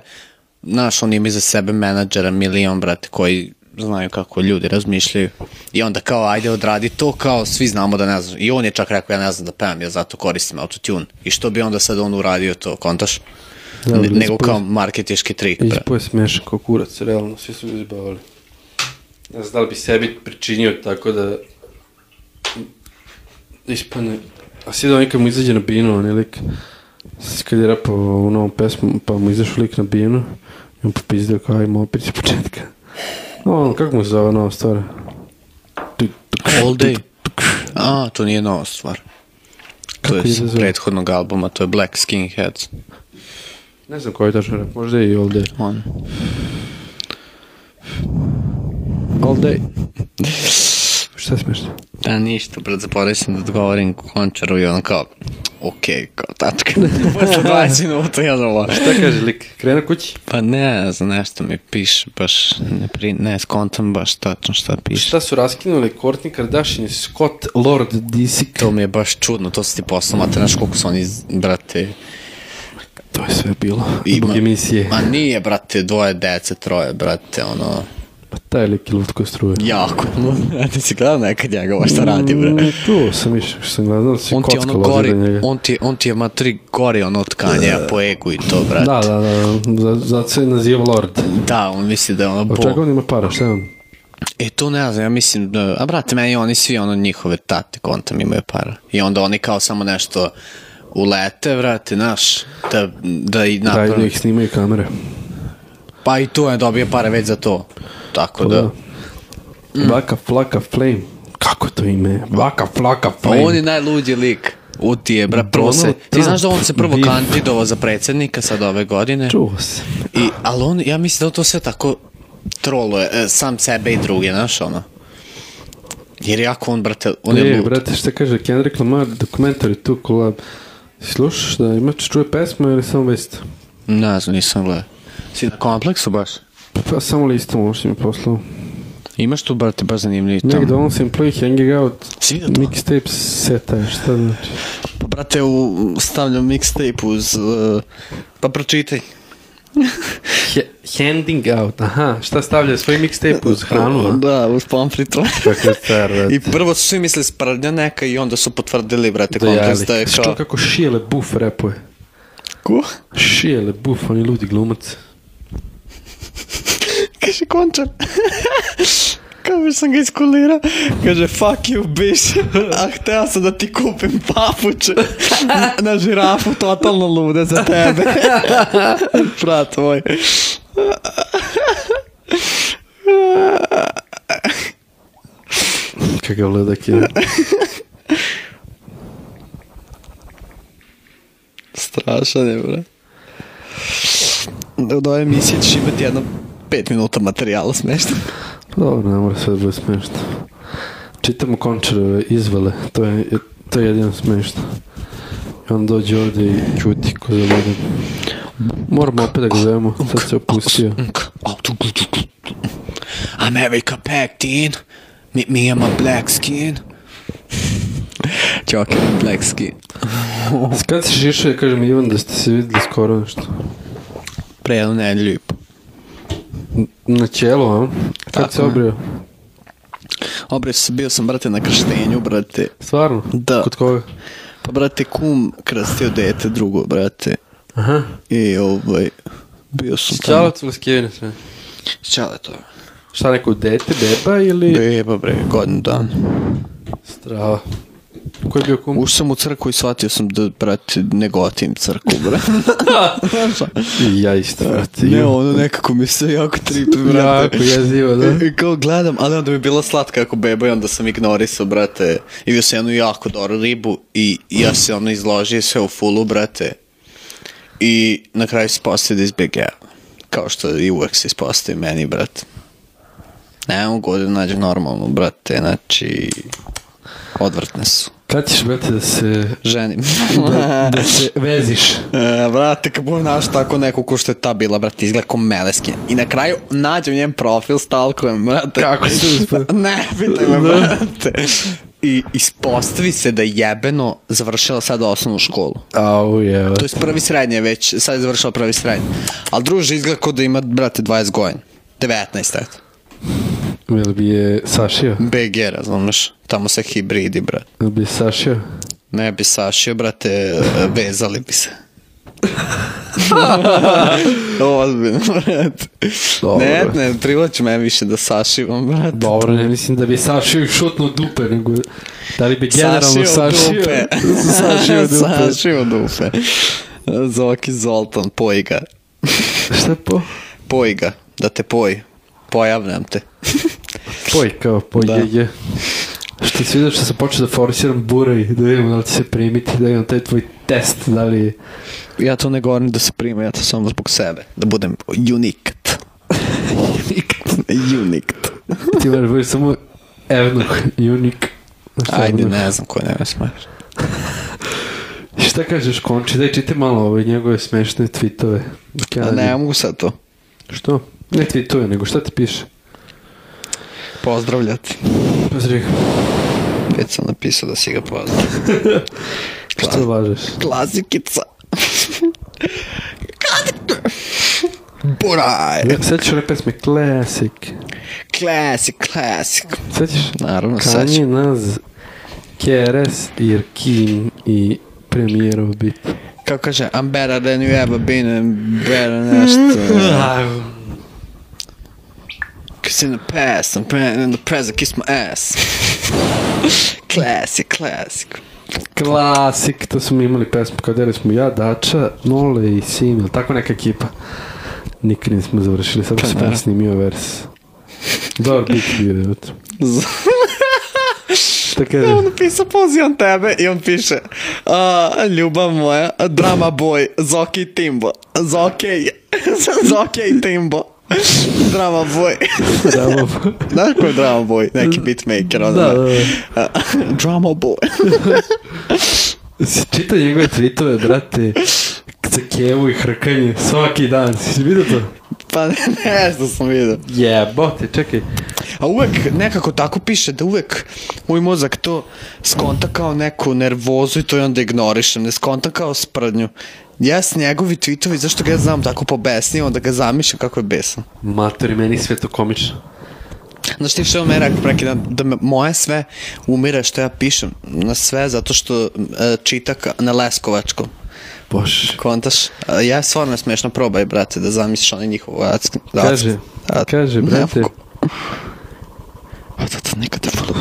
znaš, on ima iza sebe menadžera milion, brate, koji znaju kako ljudi razmišljaju. I onda kao, ajde odradi to, kao svi znamo da ne znam. I on je čak rekao, ja ne znam da pevam, ja zato koristim autotune. I što bi onda sad on uradio to, kontaš?
Da,
Ne,
ali
nego
ispod-
kao marketiški trik, bre.
Ispo je smešan kao kurac, realno, svi su ga izbavali. Ne znam da li bi sebi pričinio tako da ispane. A svi da on kad mu izađe na binu, on je lik. Sad kad je rapao u novom pesmu, pa mu izašao lik na binu, i on popizdeo kao ajmo opet iz početka. No, ono, kako mu se zove nova stvar?
All day. A, to nije nova stvar. To je
Kako je
iz
izazove?
prethodnog albuma, to je Black Skinheads.
Ne znam koji je tačno rap, možda je i All Day.
On.
All Day. Šta je smešno?
Da, ništa, brad, zaboravio sam da odgovorim končaru i on kao, okej, kao tačka. Posle 20 minuta ja znam,
Šta kaže lik? Krenu kući?
pa ne znam, nešto mi piše, baš ne, pri, ne skontam baš tačno šta piše.
Šta su raskinuli Kourtney Kardashian i Scott Lord Disick?
To mi je baš čudno, to si ti poslao, mate, znaš koliko su oni, brate,
To je sve bilo.
Ima.
Zbog emisije.
ma nije, brate, dvoje dece, troje, brate, ono,
Pa taj lik je lutko struje.
jako, a ti si gledao nekad njega, ovo šta radi, bre.
Mm, tu sam više što sam gledao, se
On ti ono
kocka lozi
gori,
do njega.
on ti, on ti je matri gori ono tkanje, po egu i to, brate.
Da, da, da, za- zato se naziva Lord.
Da, on misli da je ono
Od
bog.
čega on ima para, šta je on?
E, to ne znam, ja mislim da, a brate, meni oni svi, ono, njihove tate kontam imaju para. I onda oni kao samo nešto ulete, vrate, naš, da, da i
Daj da
napravi.
ih snimaju kamere.
Pa i tu je dobio pare već za to. Tako Pa da. Mm.
Vaka, flaka, flame. Kako to ime? Vaka, flaka,
Pa
flame.
on je najluđi lik. U ti je, bra, prvo se,
Donald
ti
Trump
znaš da on se prvo
bi-
kandidovao za predsjednika sad ove godine.
Čuo se.
I, ali on, ja mislim da on to sve tako troluje, e, sam sebe i druge, znaš, ono. Jer jako on, brate, on je
E,
lud.
brate, šta kaže Kendrick Lamar, dokumentari tu kolab. Slušaš da imaš čuje pesmu ili samo vest?
Ne znam, nisam gledao. Si na kompleksu baš?
Pa samo listom ovo što mi je poslao.
Imaš tu, brate, baš zanimljivih tamo.
Nek donosim play hanging out
Si vidio to?
mixtape seta, je, šta znači?
Pa, brate, u, stavljam mixtape uz... uh, pa pročitaj.
handing out, aha, šta stavlja svoj mixtape uz hranu?
Da, uz pomfritu.
Kako je star, brate.
I prvo su svi mislili sprdnja neka i onda su potvrdili, brate,
Da jeli.
kompleks da je
Što
kao...
kako šijele buf repuje?
Ko?
Šijele buf, oni ludi glumac.
Kaže končar. Kao već sam ga iskulirao. Kaže, fuck you, bitch. A hteo sam da ti kupim papuče na žirafu, totalno lude za tebe. Brat moj.
Kakav ledak je.
Strašan je, bre. Od ove emisije ćeš imati jedno pet minuta materijala smešta.
Dobro, ne mora sve da bude smešno. Čitamo končareve izvele, to je, to je jedino smešno. I on dođe ovdje i čuti ko za ludom. Moramo opet da ga zovemo, sad se opustio.
America packed in. Meet me and my black skin. Čoke, black skin.
Kad si šišao, ja kažem Ivan da ste se videli skoro nešto.
Pre jednu nedelju i po.
Na ćelu, a? Kad se
Tako je.
obrio?
Obre, s- bio sam, brate, na krštenju, brate.
Stvarno?
Da.
Kod koga?
Pa, brate, kum krstio dete drugo, brate.
Aha.
I, ovaj, bio sam tamo.
Čalac ili skivine sve?
Ćale to.
Šta neko, dete, beba ili...
Beba, bre, godinu dan.
Strava. Ko je bio kum?
Ušao sam u crku i shvatio sam da, brate, ne gotim crku, brate.
Ja isto, brate.
Ne, ono nekako mi se jako tripi, brate.
Jako jezivo, da.
I kao gledam, ali onda mi je bila slatka ako beba i onda sam ignorisao, brate. I bio sam jednu jako dobru ribu i ja se ono izložio sve u fulu, brate. I na kraju se postaje da izbjegava. Kao što i uvek se ispostaje meni, brate. Ne mogu da nađem normalno, brate, znači... Odvrtne su.
Kad ćeš, brate, da se...
Ženim.
Da se veziš.
E, brate, kad budem naš tako neku ko što je ta bila, brate, izgleda ko meleskin. I na kraju nađem njen profil, stalkujem, brate.
Kako se uspeo?
Ne, pitaj me, brate. I ispostavi se da je jebeno završila sad osnovnu školu.
Au, jeva.
To je prvi srednje već, sad je završila prvi srednje. Ali druže izgleda kao da ima, brate, 20 godina. 19, eto.
Jel bi je sašio?
BG, razumeš? Tamo se hibridi, brate.
Jel bi je sašio?
Ne bi sašio, brate, vezali bi se. Ozbiljno, brate.
Dobro.
Ne, ne, privlači me više da sašivam, brate.
Dobro, ne mislim da bi je sašio i šutno dupe, nego... Da li bi generalno
Sašio
sašio?
dupe.
sašio dupe.
Sašio dupe. Zoki Zoltan, poj ga.
Šta po?
Poj ga, da te poji. Pojavljam te.
Poj, kao, poj,
Da.
je, je. Što si vidio što sam počeo da forsiram burej, da vidimo da li će se primiti, da imam taj tvoj test, da li...
Ja to ne govorim da se prima, ja to samo zbog sebe. Da budem unikt. unikt.
Ti moraš budeš samo evnuh, unik. Šta
Ajde,
evnuh?
ne znam ko ne me smaraš.
Šta kažeš, Konči? Daj, čite malo ove njegove smešne tweetove. Dok ja
A
nađem.
ne mogu sad to.
Što? Ne tweetove, nego šta ti piše?
Pozdravljati.
Pozdrav.
Već sam napisao da si ga poznao.
Šta važeš?
Klasikica. Klasika. Buraj.
Ja, sećaš one pesme Classic.
Klasik, klasik.
Sećaš?
Naravno, sad
Kanye
ću.
Naz, Keres, Irkin i premijerov bit.
Kao kaže, I'm better than you ever been and better nešto. Cause in the past, I'm better in the present, kiss my ass. Klasik, klasik.
Klasik, to smo imali pesmu kao deli smo ja, Dača, Nole i Sim, ili tako neka ekipa. Nikad nismo završili, samo sam ja snimio vers. Dobar bit bio je. eto. Šta kaže?
On napisao pozivam tebe i on piše a, Ljubav moja, drama boy, Zoki i Timbo. Zoki, Zoki i Timbo. Drama boy.
Bravo.
Znaš ko je drama boy? Neki beatmaker. Ono.
Da, da, da.
A, drama boy.
Si čitao njegove tweetove, brate, za kevu i hrkanje, svaki dan, si vidio to?
Pa ne, ne znam sam vidio.
Jebote, čekaj.
A uvek nekako tako piše da uvek moj mozak to skonta kao neku nervozu i to i onda ignorišem, ne skonta kao sprdnju. Ja s njegovi tweetovi, zašto ga ja znam tako pobesnije, onda ga zamišljam kako je besan.
Matori, meni je sve to komično.
Znaš ti što je meni rekao preki dan, da me, moje sve umire što ja pišem na sve zato što e, čita ka- na Leskovačkom.
Bože.
Kontaš, E, ja je stvarno smešno probaj, brate, da zamisliš onaj njihov vacak.
Kaže, kaže, brate,
A to to nikad ne budu.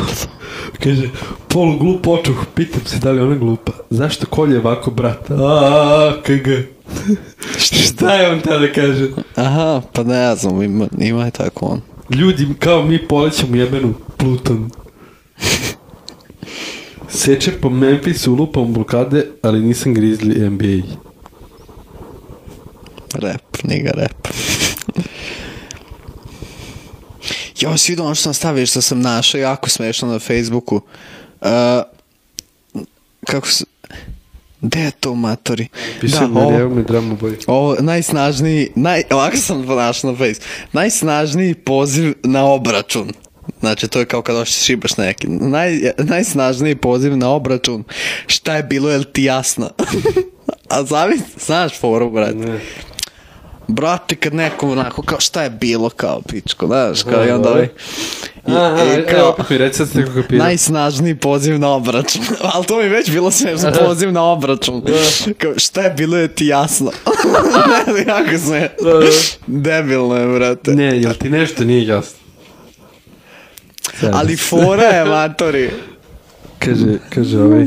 kaže, polu glup očuh, pitam se da li je ona glupa. Zašto kolje ovako, brat? Aaaa, kg. Šta je on tada kaže?
Aha, pa ne znam, ima, ima je tako on.
Ljudi, kao mi polećemo jebenu Pluton. Seče po Memphisu, lupam blokade, ali nisam grizli NBA.
Rap, niga rap. Jo, si vidio ono što sam stavio, što sam našao, jako smešno na Facebooku. Uh, kako se... Gde je to, matori?
Pišem
da,
na
ovo,
lijevom i dramu boji.
ovo, najsnažniji, naj, ovako sam našao na Face, najsnažniji poziv na obračun. Znači, to je kao kad ošte šibaš neki. Naj, najsnažniji poziv na obračun. Šta je bilo, je li ti jasno? A zavis, znaš foru, brate.
Ne.
brate, kad nekom onako, kao šta je bilo, kao pičko, znaš, kao i onda ovaj, i,
Aha,
i
kao,
kao,
opet mi reci sad ste kako pira.
najsnažniji poziv na obračun, ali to mi je već bilo smiješno, poziv na obračun, kao, šta je bilo je ti jasno, ne, znam, jako se, debilno je, brate,
Ne, jel ti nešto nije jasno? Sad,
ali fora je, matori,
Kaže, kaže ovaj...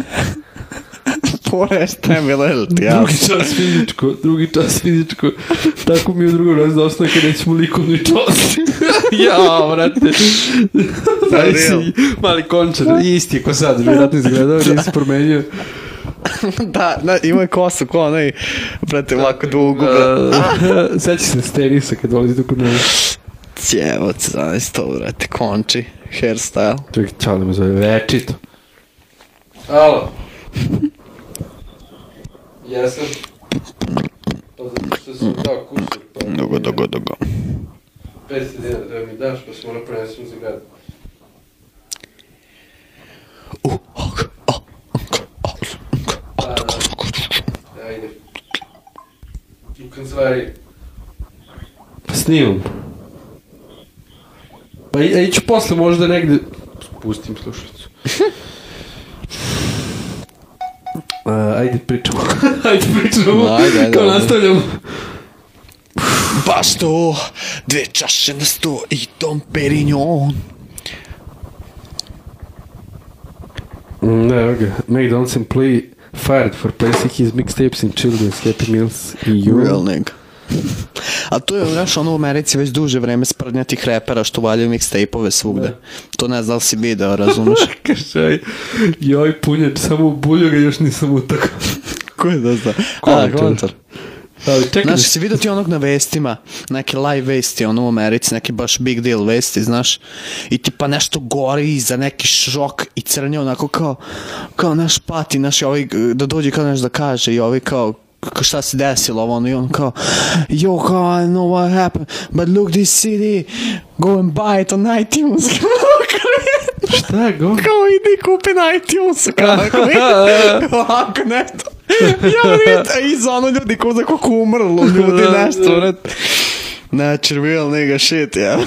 fora je šta je bilo je ti jasno,
Drugi čas fizičko, drugi čas fizičko. Tako mi je u drugom razredu osnovne kad nećemo likovni čas. ja, brate. Znaš
real.
si, mali končar, isti je ko sad, vjerojatno izgledao, nisi promenio.
da, na, ima je kosu, ko onaj, brate, ovako dugu, brate,
Uh, Sećaš se s tenisa kad dolazi do kurnera.
cijevo, znaš to, brate, konči, hairstyle.
Čekaj, čao da me zove, večito. Alo. Jesam. Pa zato što sam dao kusur, pa...
Dugo, dugo, dugo.
500 dinara da mi daš, pa se mora prenesem za grad. Pa, Ajde. U kancelariji. Pa snimam. Pa i- a iću posle možda negde... Pustim slušalicu. Uh, ajde pričamo. ajde pričamo.
Ajde, ajde,
Kao
ajde.
nastavljamo.
Baš to, dve čaše na sto i Dom Perignon.
Mm, Ne, evo ga. McDonald's and play fired for placing his mixtapes in children's happy meals E i
Real nigga. A to je, znaš, ono u Americi već duže vreme sprdnja tih repera što valjaju mixtape-ove svugde. To ne znam da li si video, razumeš?
Kaže, aj, joj punjač, samo u bulju ga još nisam utakao.
Ko je da zna?
Kontar. Ali čekaj,
Znaš,
znaš,
si vidio ti onog na vestima, neke live vesti, ono u Americi, neki baš big deal vesti, znaš, i tipa nešto gori za neki šok i crnje onako kao, kao naš pati, naš i ovaj, da dođe kao nešto da kaže i ovi kao, k- šta se desilo ovo ono i on kao yo kao I know what happened but look this CD go and buy it on Ono iTunes
šta je go?
kao idi kupi na iTunes kao ovako nešto ja vidite i za ono ljudi ko za koliko umrlo ljudi nešto vrat znači real nigga shit ja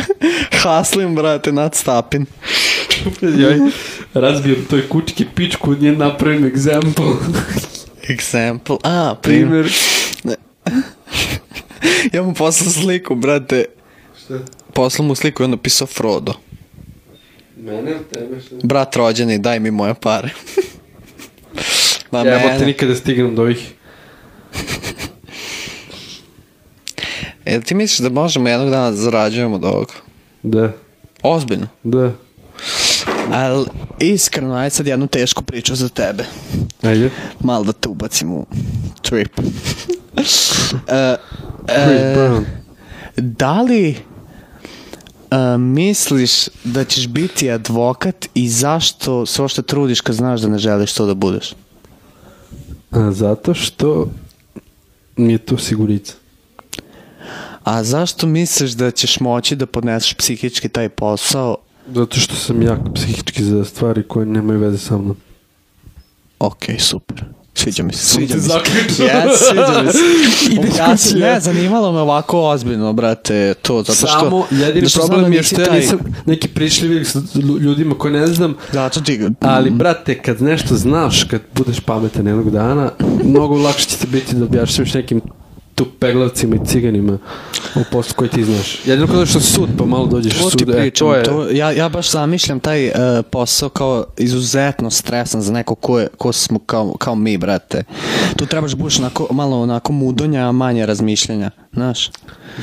haslim brate nad stapin
joj, razbijem toj kučki pičku, od nje napravim egzempl.
example a primjer
Primer.
ja mu poslao sliku brate
Šta?
poslao mu sliku i on napisao Frodo
Mene ili tebe? Šta?
brat rođeni daj mi moje pare Ma
Ja, evo te
mene,
nikada stignem do ovih.
jel E, ti misliš da možemo jednog dana da zarađujemo od ovoga?
Da,
Ozbiljno.
da.
Ali iskreno, aj sad jednu tešku priču za tebe.
Ajde.
Malo da te ubacim u trip. e,
Chris
e,
Brown.
da li e, misliš da ćeš biti advokat i zašto se uopšte trudiš kad znaš da ne želiš to da budeš?
A, zato što mi je tu sigurica.
A zašto misliš da ćeš moći da podneseš psihički taj posao?
Zato što sam jak psihički za stvari koje nemaju veze sa mnom.
Ok, super. Sviđa mi se, sviđa mi se.
Zaključno.
Yes, sviđa mi se. Ja se- ne, zanimalo me ovako ozbiljno, brate, to, zato što...
Samo, jedini
zato što znam
problem
da
je
nisi
što ja
taj-
nisam neki prišljivi sa ljudima koje ne znam,
Zato ti...
ali, brate, kad nešto znaš, kad budeš pametan jednog dana, mnogo lakše će ti biti da objašnjaš nekim tu peglavcima i ciganima u poslu koji ti znaš. Jedino kada što sud, pa malo dođeš
To
u
ti
sud, e,
pričam,
to je...
to- ja, ja baš zamišljam taj e, posao kao izuzetno stresan za neko ko, je, ko smo kao, kao mi, brate. Tu trebaš buš onako, malo onako mudonja, a manje razmišljanja, znaš?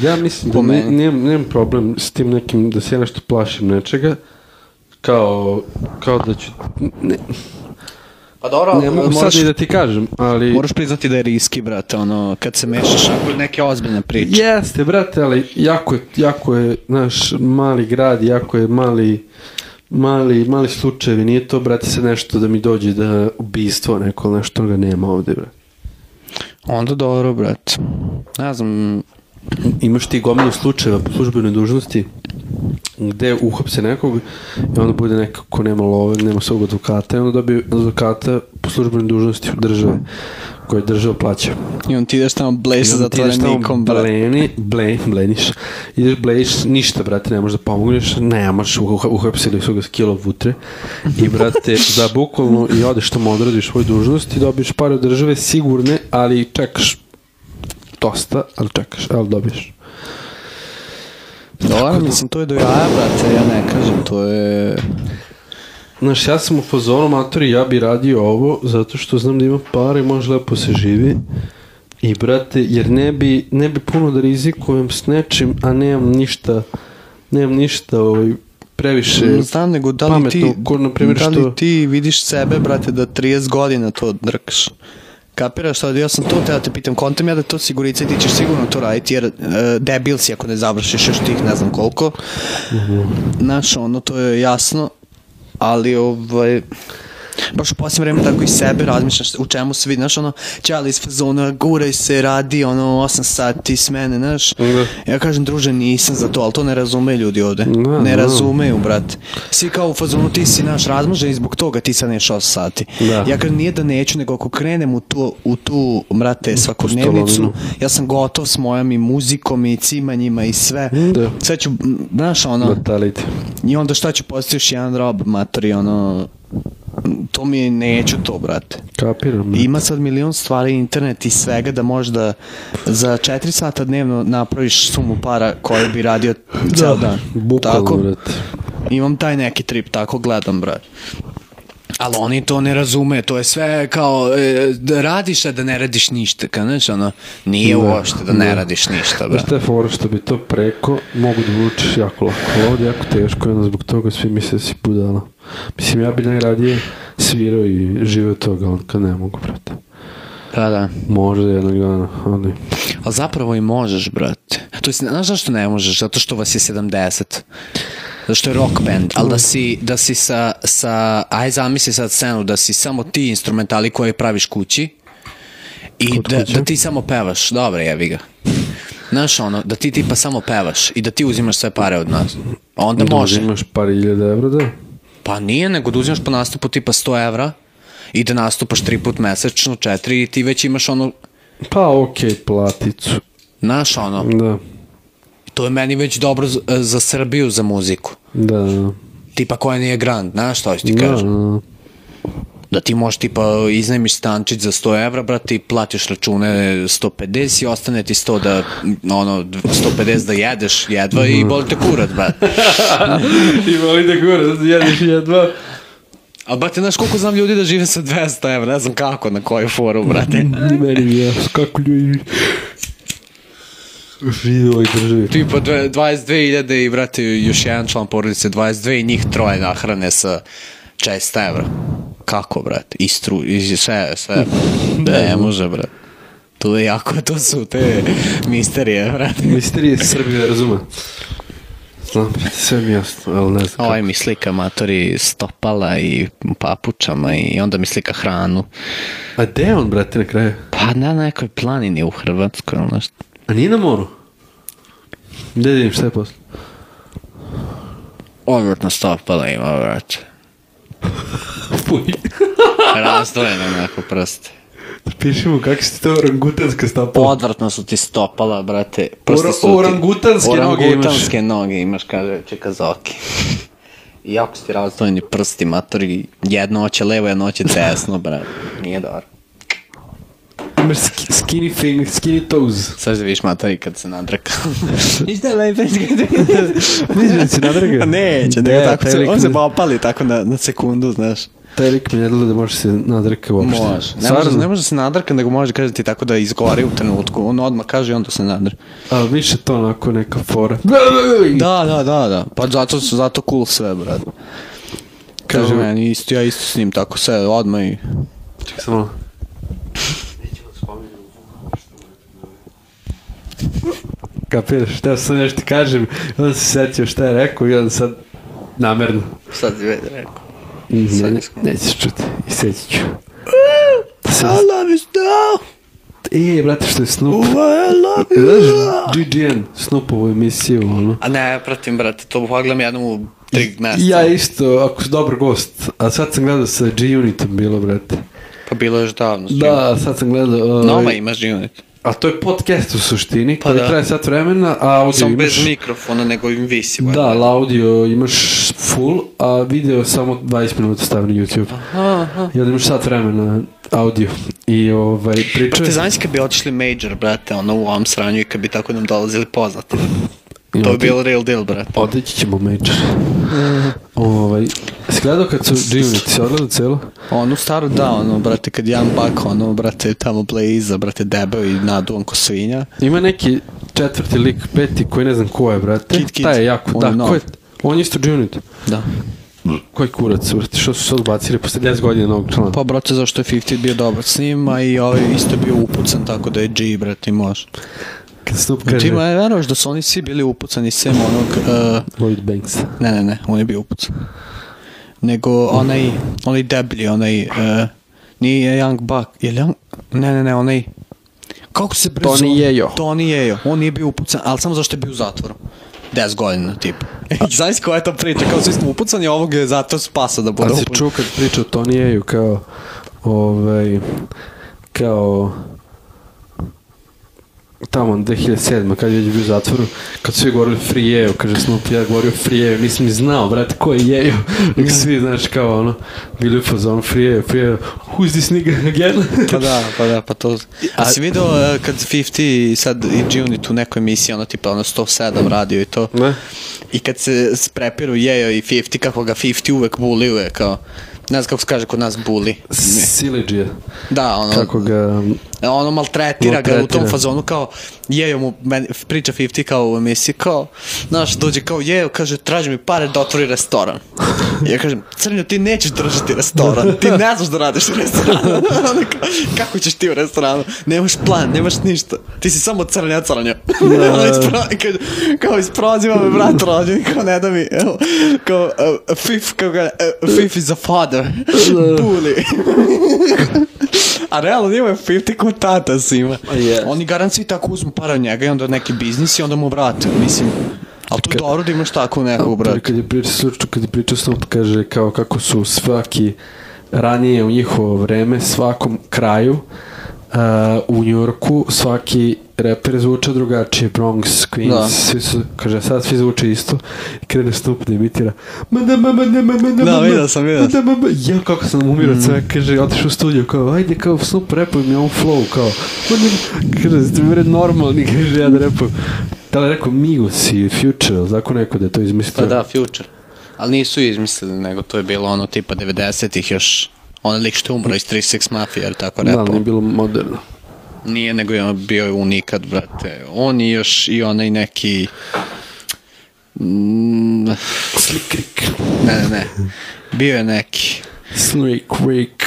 Ja mislim
Po
da ne,
meni.
nemam, nemam problem s tim nekim, da se ja nešto plašim nečega, kao, kao da ću... Ne,
Pa dobro,
ne mogu sad
moraš,
ni da ti kažem, ali...
moraš priznati da je riski, brate, ono, kad se mešaš ako je neke ozbiljne priče.
Jeste, brate, ali jako je, jako je naš mali grad, jako je mali, mali, mali slučajevi, nije to, brate, se nešto da mi dođe da ubistvo neko, ili nešto ga nema ovde, brate.
Onda dobro, brate. Ne znam,
Imaš ti gomilu slučajeva po službenoj dužnosti gde uhapse nekog i onda bude neko ko nema love, nema svog advokata i onda dobije advokata po službenoj dužnosti u države koje država plaća.
i on ti ideš tamo bleši
I onda ti ideš tamo
zatvorenikom, brate.
Bleni, ble, bleniš. Ideš blejiš, ništa, brate, ne možeš da pomogneš, ne možeš, uha- uhapsili su ga s kilo vutre. I, brate, da bukvalno i odeš tamo odradiš svoju dužnost i dobiješ pare od države sigurne, ali čekaš dosta, ali čekaš, ali dobiješ.
Dobro, mislim, to je do jaja, brate, ja ne kažem, to je...
Znaš, ja sam u fazonu matori, ja bi radio ovo zato što znam da ima pare, može lepo se živi. I brate, jer ne bi, ne bi puno da rizikujem s nečim, a nemam ništa, nemam ništa ovaj, previše.
Mm, Znam, nego da li
Mm, pametno,
ti,
ko, na primjer,
da li
što-
ti vidiš sebe, brate, da 30 godina to drkaš? Kapiraš sad, ja sam to teo da te pitam, kontam ja da je to sigurica i ti ćeš sigurno to raditi, jer e, debil si ako ne završiš još tih ne znam koliko.
Mhm.
Znaš, ono, to je jasno, ali ovaj, baš u posljednje vreme tako i sebe razmišljaš u čemu se vidi, znaš, ono, ćali iz fazona, guraj se, radi, ono, 8 sati s mene, znaš.
Da.
Ja kažem, druže, nisam za to, ali to ne razume ljudi ovde.
Da, da.
ne razumeju, brate. Svi kao u fazonu, ti si naš razmažen i zbog toga ti sad neš 8 sati.
Da.
Ja kažem, nije da neću, nego ako krenem u tu, u tu brate,
stolovinu.
svakodnevnicu, ja sam gotov s mojom i muzikom i cimanjima i sve.
Da.
Sve ću, m, znaš, ono,
Mortality.
i onda šta ću postati još jedan rob, matori, ono, m, to mi je, neću to, brate.
Kapiram. brate.
Ima sad milion stvari, internet i svega da možda za 4 sata dnevno napraviš sumu para koju bi radio ceo dan.
Bukvalno,
tako,
brate.
imam taj neki trip, tako gledam, brat. Ali oni to ne razume, to je sve kao e, da radiš, a da ne radiš ništa, kao znaš, ono, nije uopšte da Pa ne, radiš ništa,
Znaš
brat.
šta je fora što bi to preko mogu da vučeš jako lako, ali ovdje je jako teško i onda zbog toga svi misle da si budala. Mislim, ja bi najradije svirao i živeo od toga, ali kad ne mogu, brate.
Da, da.
Možda jednog dana, ali...
Ali Pa zapravo i možeš, brate. To je, znaš zašto ne možeš? Zato što vas je 70. Zato što je rock band, ali da si, da si sa, sa, aj zamisli sad scenu, da si samo ti instrumentali koje praviš kući i da, da ti samo pevaš, dobro jevi ga. Znaš ono, da ti tipa samo pevaš i da ti uzimaš sve pare od nas. Onda može.
Imaš par iljada evra, da?
Pa nije, nego da uzimaš po nastupu tipa 100 evra i da nastupaš tri put mesečno, četiri i ti već imaš ono,
Pa okej, platicu.
znaš ono,
Da,
To je meni već dobro za, za Srbiju za muziku.
da, da.
Tipa koja nije grand, znaš šta hoću ti
Da,
kažem?
da.
Da ti možeš tipa iznajmiš stančić za 100 evra, brate, i platiš račune 150 i ostane ti 100 da, ono, 150 da jedeš jedva i boli te kurat, brate.
I voli da gore, sad jedeš jedva.
Ali, brate, znaš koliko znam ljudi da žive sa 200 evra, ne znam kako, na koju foru, brate.
Meni ja, kako ljudi... Žive u ovoj državi.
Tipa dve- 22.000 i, brate, još jedan član porodice, 22 i njih troje nahrane sa 400 evra. Kako, brate? I stru, i sve, sve. Ne može, brate. To je jako, to su te misterije, brate.
Misterije Srbije, razume. znam, sve mi jasno, ali ne znam kako.
Ovaj mi slika matori stopala i papučama i onda mi slika hranu.
A gde je on, brate, na kraju?
Pa na nekoj planini u Hrvatskoj ono ili nešto.
A nije na moru? Gde da vidim šta je posle?
Odvrtna stopala ima, brate.
Fuj.
Razdvojena onako prste.
Piši mu kakve su te orangutanske stapala.
Odvrtno Ono su ti stopala, brate.
Ora-
Prsti su ti...
orangutanske noge imaš.
Orangutanske noge imaš, kaže Čekazoki. I jako su ti razdvojeni prsti, matori. Jedno oće levo, jedno oće desno, brate. Nije dobro.
Imaš sk- skinny fing, skinny toes.
Sad se vidiš matori kad se nadraka. Ništa lepe,
Niš da si nadraga?
Neće,
Ne,
nego tako
taj
se,
lik
on
mi-
se popali tako na, na sekundu, znaš.
Taj lik mi ne dole da može se nadrka uopšte.
Može. Ne
Stvarno?
može, ne može se nadrka, nego može kaže ti tako da izgori u trenutku. On odmah kaže i onda se nadr.
A više to onako neka fora.
Da, da, da, da. Pa zato su zato cool sve, brad. Kaže
Kaže-
meni, isto, ja isto s njim tako sve, odmah i...
Čekaj samo. Kapiraš, šta sam nešto ti kažem, i onda se setio šta je rekao i onda sad namerno.
Sad je već rekao.
Ne, ne, Mhm. nećeš čuti, i setit ću. Sad,
love is now,
e, brate, što je Snoop.
I love
Znaš, GGN, Snoopovu emisiju, ono.
A ne, ja pratim, brate, to pogledam jednom u tri mesta.
Ja isto, ako si dobar gost, a sad sam gledao sa G-Unitom bilo, brate.
Pa bilo je još davno.
Da, sad sam gledao... ovaj,
Noma imaš unit.
A to je podcast u suštini,
Pa
koji
da.
traje sat vremena, a audio
Samo
imaš...
bez mikrofona, nego im visi.
Da, ali audio imaš full, a video samo 20 minuta stavi na YouTube. I onda imaš sat vremena audio. I ovaj,
Pa
priča...
te znaš kad bi otišli major, brate, ono u ovom sranju i kad bi tako nam dolazili poznati.
I
To bi
odi-
bilo real deal, brate.
Otići ćemo međer. ovaj, si gledao kad su G-Unit, si odgledao celo?
Onu staru, da, ono, brate, kad jedan bak, ono, brate, tamo ble iza, brate, debeo i naduvan ko svinja.
Ima neki četvrti lik, peti, koji ne znam ko je, brate.
Kid, Kid.
Taj je jako,
On
da,
je nov.
ko je, on je isto G-Unit.
Da.
Koji kurac, brate, što su sad bacili posle 10 godina novog člana?
Pa, brate, zašto je 50 bio dobar s njim, a i ovaj isto je bio upucan, tako da je G, brate, može.
kad Snoop
Ti
kaže
ma veruješ da su oni svi bili upucani, sem onog, eh,
Lloyd Banks.
ne, ne, ne, on je bio upucan. Nego onaj, onaj deblji, onaj, eh, nije Young Buck, je li on, ne, ne, ne, onaj, kako se brzo...
Tony Yeo.
Tony Yeo. On nije bio upucan, ali samo zašto je bio u zatvoru. 10 godina, tip. Znaš koja je to priča, kao svi smo upucani, ovog je zato spasa da bude
Ali si
upucan.
Pa čuo kad priča o Tonijeju kao, ovaj, kao, tamo 2007. kad je već bio u zatvoru, kad su svi govorili Free Yeo, kaže Snoop, ja govorio Free Yeo, nisam ni znao, brate, ko je Yeo, nek svi, znaš, kao ono, bili u fazonu Free Yeo, Free Yeo, who's this nigga again?
Pa da, pa da, pa to... A si video eh, kad 50 i sad i G-Unit u nekoj emisiji, ono tipa ono 107 radio i to,
Ne?
i kad se sprepiru Yeo i 50, kako ga 50 uvek buliuje, kao... Ne znam kako se kaže kod nas buli.
Silidžija,
Da, ono...
kako ga,
E, ono maltretira, ga u tom
Maltretira.
fazonu kao jejo mu, meni, priča 50 kao u emisiji kao, znaš, dođe kao jejo, kaže traži mi pare da otvori restoran. I ja kažem, Crnjo ti nećeš držati restoran, ti ne znaš da radiš u restoranu. Ono kao, Kako ćeš ti u restoranu? Nemaš plan, nemaš ništa. Ti si samo crnja crnja. Ono ispro- kaže, kao isproziva me brat rođen, kao ne da mi, evo, kao uh, fif, kao ga, uh, fif is a father. Bully. A realno njima je 50 ko tata svima.
je.
Oni garant svi tako uzmu para od njega i onda neki biznis i onda mu vrate, mislim. Ali to je dobro da imaš tako nekog,
Brate.
brate.
Kad je pričao slučaj, kad je pričao Snoop, kaže kao kako su svaki ranije u njihovo vreme, svakom kraju uh, u Njorku svaki reper zvuča drugačije, Bronx, Queens,
Da.
svi su, kaže, sad svi zvuče isto i krene Snoop da imitira ma da ma ma da ma ma da
Da,
ma, ma,
vidio sam, vidio
ma da ma ma ja kako sam umirao mm. sve, kaže, otišao u studio kao, ajde kao Snoop repuj mi ovu flow kao, ma da, kaže, ste mi vred normalni, kaže, ja da repujem da li je rekao Migos i Future, tako neko da je to
Pa
izmislio
future. Ali nisu izmislili, nego to je bilo ono tipa 90-ih još. Onaj lik što je umro iz 36 Mafia, jer tako
Da,
repao.
ali nije bilo moderno.
Nije, nego je on bio je unikat, brate. On i još i onaj neki... Mm, ne,
Slikrik.
ne, ne. Bio je neki...
Snake Wake.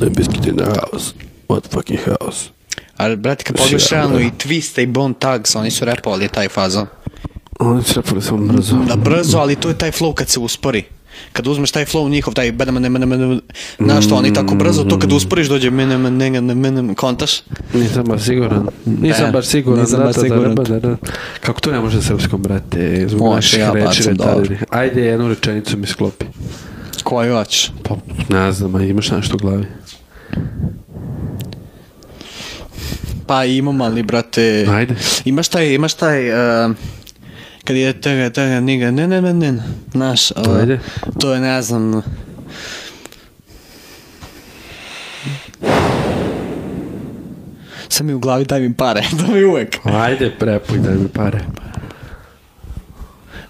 The Biscuit in the house. What fucking house?
Ali, brate, kad pogledaš
Sjajno.
realno i Twista i Bone Thugs, oni su repovali taj fazon.
Oni trepali samo brzo.
Da, brzo, ali to je taj flow kad se uspori. Kad uzmeš taj flow njihov, taj bedem, ne, ne, ne, znaš što, oni tako brzo, to kad usporiš dođe mene, mene, mene, mene, kontaš.
Nisam baš siguran. Nisam
E,
baš siguran.
nisam baš
brate, da
siguran.
treba da- da- Kako to ne može na srpskom, brate? Zbog
Može,
naših
ja
reči
bacam dobro.
retardirani. Ajde, jednu rečenicu mi sklopi.
Koju hoćeš?
Pa, ne znam, a imaš nešto u glavi?
Pa imam, ali brate...
Ajde.
Imaš taj, imaš taj... Uh, kad je tega, tega, niga, ne, ne, ne, ne, znaš, uh,
Ajde.
to je, ne znam, Sam mi u glavi, daj mi pare, daj mi uvek.
Ajde, prepuj, daj mi pare.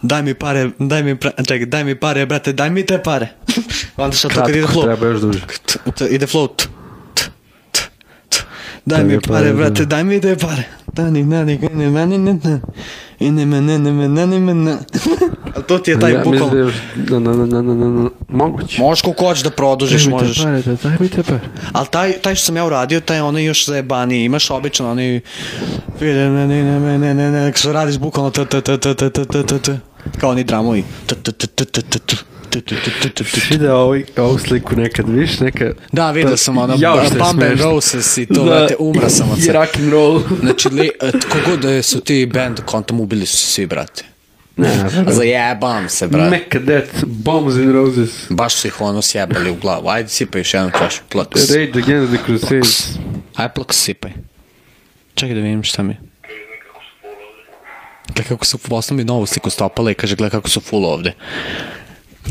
Daj mi pare, daj mi, pra- čekaj, daj mi pare, brate, daj mi te pare. Onda što to kad ide
Kratko,
flow,
treba još duže.
t- t- ide flow, t- t- t- t- daj mi pare, brate, daj mi te pare. Dani, nani, gani, mani, ne, ne. I ne, me, ne, ne, me, ne, ne, me, ne. Ali to ti je taj
ja, mislim da
bukvalno.
je još- na, na, na, na, na, na, moguće.
Možeš koliko hoćeš da produžiš,
Daj mi
možeš.
te pare, da, daj mi te pare.
Ali taj, taj što sam ja uradio, taj je onaj još zajebaniji. Imaš obično onaj... Ne, ne, ne, ne, ne, ne, ne, ne, što radiš bukvalno t, t, t, t, t, t, t, t, t. Kao oni dramovi. T, t, t, t, t, t, t, t, t, t, t, t, t.
Video ovaj, ovu sliku nekad, viš, neka...
Da, vidio sam ono
Jao,
ba-
što je
Bump and
smešno.
Roses i to, brate, umra sam od
I
sebe.
rock'n'roll.
Znači, li, et, kogod da su ti band kontom ubili su se svi, brate.
Ne,
Zajebam se, brate.
Megadeth, Bombs and Roses,
Baš su ih ono sjebali u glavu. Ajde, sipaj još jednu čašu. Plak,
Rage Against the Crusades.
Aj, plak, sipaj. Čekaj da vidim šta mi je. Gle kako su, poslao mi novu sliku stopala i kaže, gle kako su full ovde.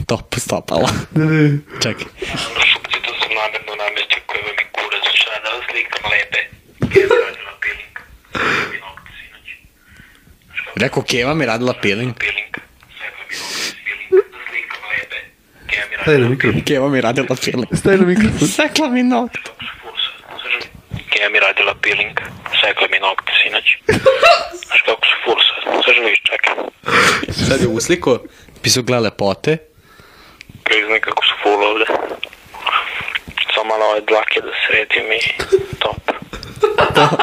Top stopala. Čekaj.
onda šupci to sam namerno namestio koji vam je kurac šta da vas slikam lepe. Gezanjena piling. Sve mi nokte sinoć.
Rekao, Keva mi radila peeling.
Piling. Sve mi nokte piling. Da slikam lepe. Kema mi
Staj na
radila
mikrofon.
Keva mi radila peeling.
Staj na mikrofon.
Sekla mi noć.
Kema mi radila peeling. Sekla mi nokte sinoć. Znaš kako su fursa. Sve živiš čekaj.
Sad je usliko, pisao, gle lepote.
Priznaj kako su full ovde. Samo malo ove dlake da sredim i top.
Top!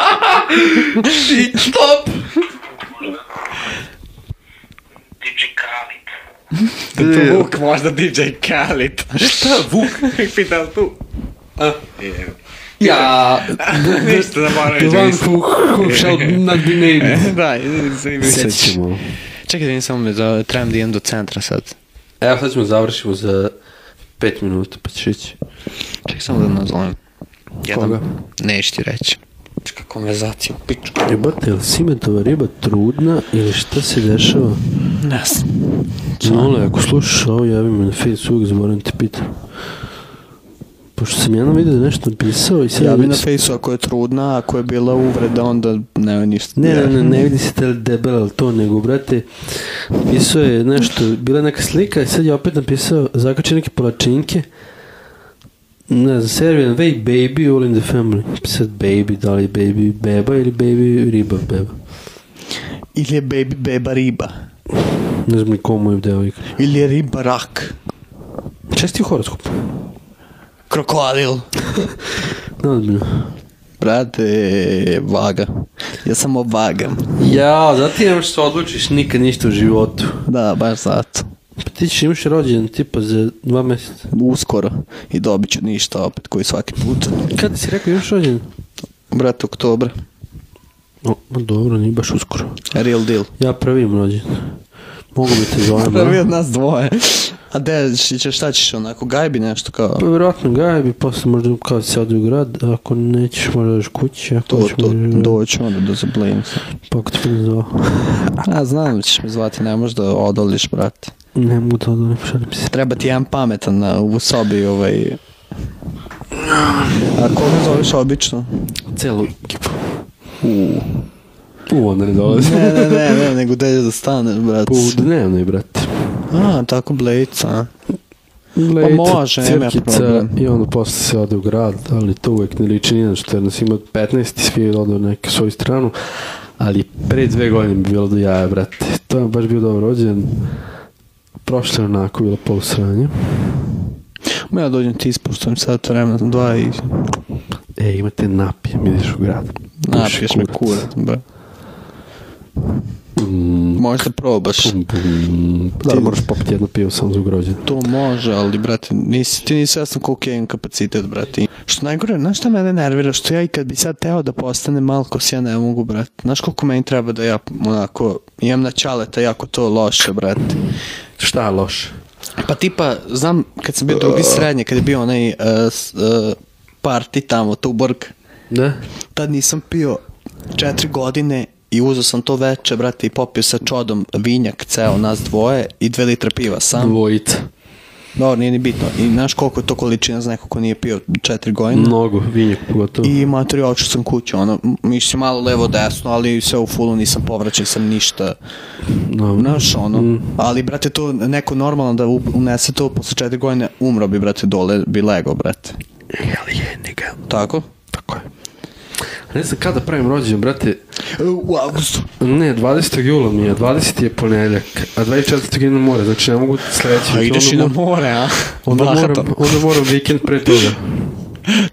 DJ Khalid.
Da je to Vuk, možda DJ Khalid. Šta, Vuk? Pitam tu.
Ja,
Ništa da moram
the one who, who shall not be named.
Da, izvim Čekaj da nisam me da trebam da idem do centra sad.
Evo sad ćemo završimo za 5 minuta, pa ćeš ići.
Čekaj samo da nazovem.
Koga?
Neš ti reći. Čekaj, konverzaciju, piču.
Jebate, jel simetova riba trudna ili šta se dešava?
Ne znam.
Nole, ako slušaš ovo, javi me na Facebooku, uvijek zaboravim te pitam. Pošto sam jednom vidio da je nešto napisao i sad...
Ja bi na fejsu ako je trudna, ako je bila uvreda, onda ne, ništa.
Ne, ne, ne, ne vidi se tel debel, ali to nego, brate, pisao je nešto, bila je neka slika i sad je opet napisao, zakačio neke palačinke, ne znam, Serbian Way, baby, all in the family. Sad baby, da li je baby beba ili baby riba beba.
Ili je baby beba riba.
Ne znam ni komu je devojka.
Ili je riba rak.
Česti horoskop.
Krokodil.
Ne odmino.
Brate, vaga. Ja samo vagam.
Ja, zato je što odlučiš nikad ništa u životu.
Da, baš zato.
Pa ti ćeš imaš rođen tipa za dva mjeseca.
Uskoro. I dobit ću ništa opet koji svaki put.
Kada si rekao imaš rođen?
Brate, oktober.
O, ma dobro, nije baš uskoro.
Real deal.
Ja prvim rođen. Mogu bi te zovem,
Prvi
a?
od nas dvoje. A de, š- će- šta ćeš onako, gajbi nešto kao...
Pa vjerojatno gaj bi posle možda kao se odi u grad, a ako nećeš možda još kući, ako
To,
hoćeš
to,
možda još-
doći onda da zablim se.
Pa ako te budem zvao.
A znam da ćeš me zvati, ne možeš da odoliš, brate.
Ne mogu to da ne pošalim se.
Treba ti jedan pametan na, u sobi, ovaj... A koga zoveš obično?
Celu ekipu. U, onda ne dolazi.
Ne, ne, ne, ne, nego da je da staneš, brate.
U dnevnoj, brate.
A, tako blejca, a?
Lejca,
može, nema problem.
I onda posle se ode u grad, ali to uvek ne liči nijedno što je nas ima 15 i svi odu na neku svoju stranu. Ali pre dve godine bi bilo do jaja, brate. To je baš bio dobro rođen. Prošle je onako bilo pol sranje.
Ma ja dođem ti ispuštam sad vremena, dva i...
E, imate napijem, ideš u grad. Puši
Napiješ me
kurac.
kurac, brate.
Mm,
Možda probaš.
Da, ali moraš popiti jedno pivo samo za ugrođen.
To može, ali brate, nisi, ti nisi jasno koliko ja imam kapacitet, brate. Što najgore, znaš šta mene nervira, što ja i kad bi sad teo da postane Malkos, ja ne mogu, brate. Znaš koliko meni treba da ja, onako, imam na čaleta jako to loše, brate.
Šta je loše?
Pa tipa, znam, kad sam bio drugi srednje, kad je bio onaj uh, s- uh, party tamo, Tuborg,
Ne?
tad nisam pio četiri godine i uzeo sam to veče, brate, i popio sa čodom vinjak ceo, nas dvoje, i dve litre piva sam.
Dvojica.
Dobro, nije ni bitno. I znaš koliko je to količina za neko ko nije pio četiri godine?
Mnogo, vinjak pogotovo.
I mater, ja očeo sam kuću, ono, m- mislim, malo levo-desno, ali sve u fullu nisam povraćao sam ništa.
Dobro.
Znaš, ono,
Mm.
ali, brate, to neko normalno da u- unese to posle četiri godine, umro bi, brate, dole, bi lego, brate.
Jel jedni ga.
Tako?
Tako je. Ne znam kada pravim rođendan, brate.
E, U augustu.
Ne, 20. jula mi je, 20. je ponedjeljak, a 24. idem na more, znači ne mogu sledeći.
A ideš i na more, a?
Onda moram,
Bahato.
onda moram vikend pre toga.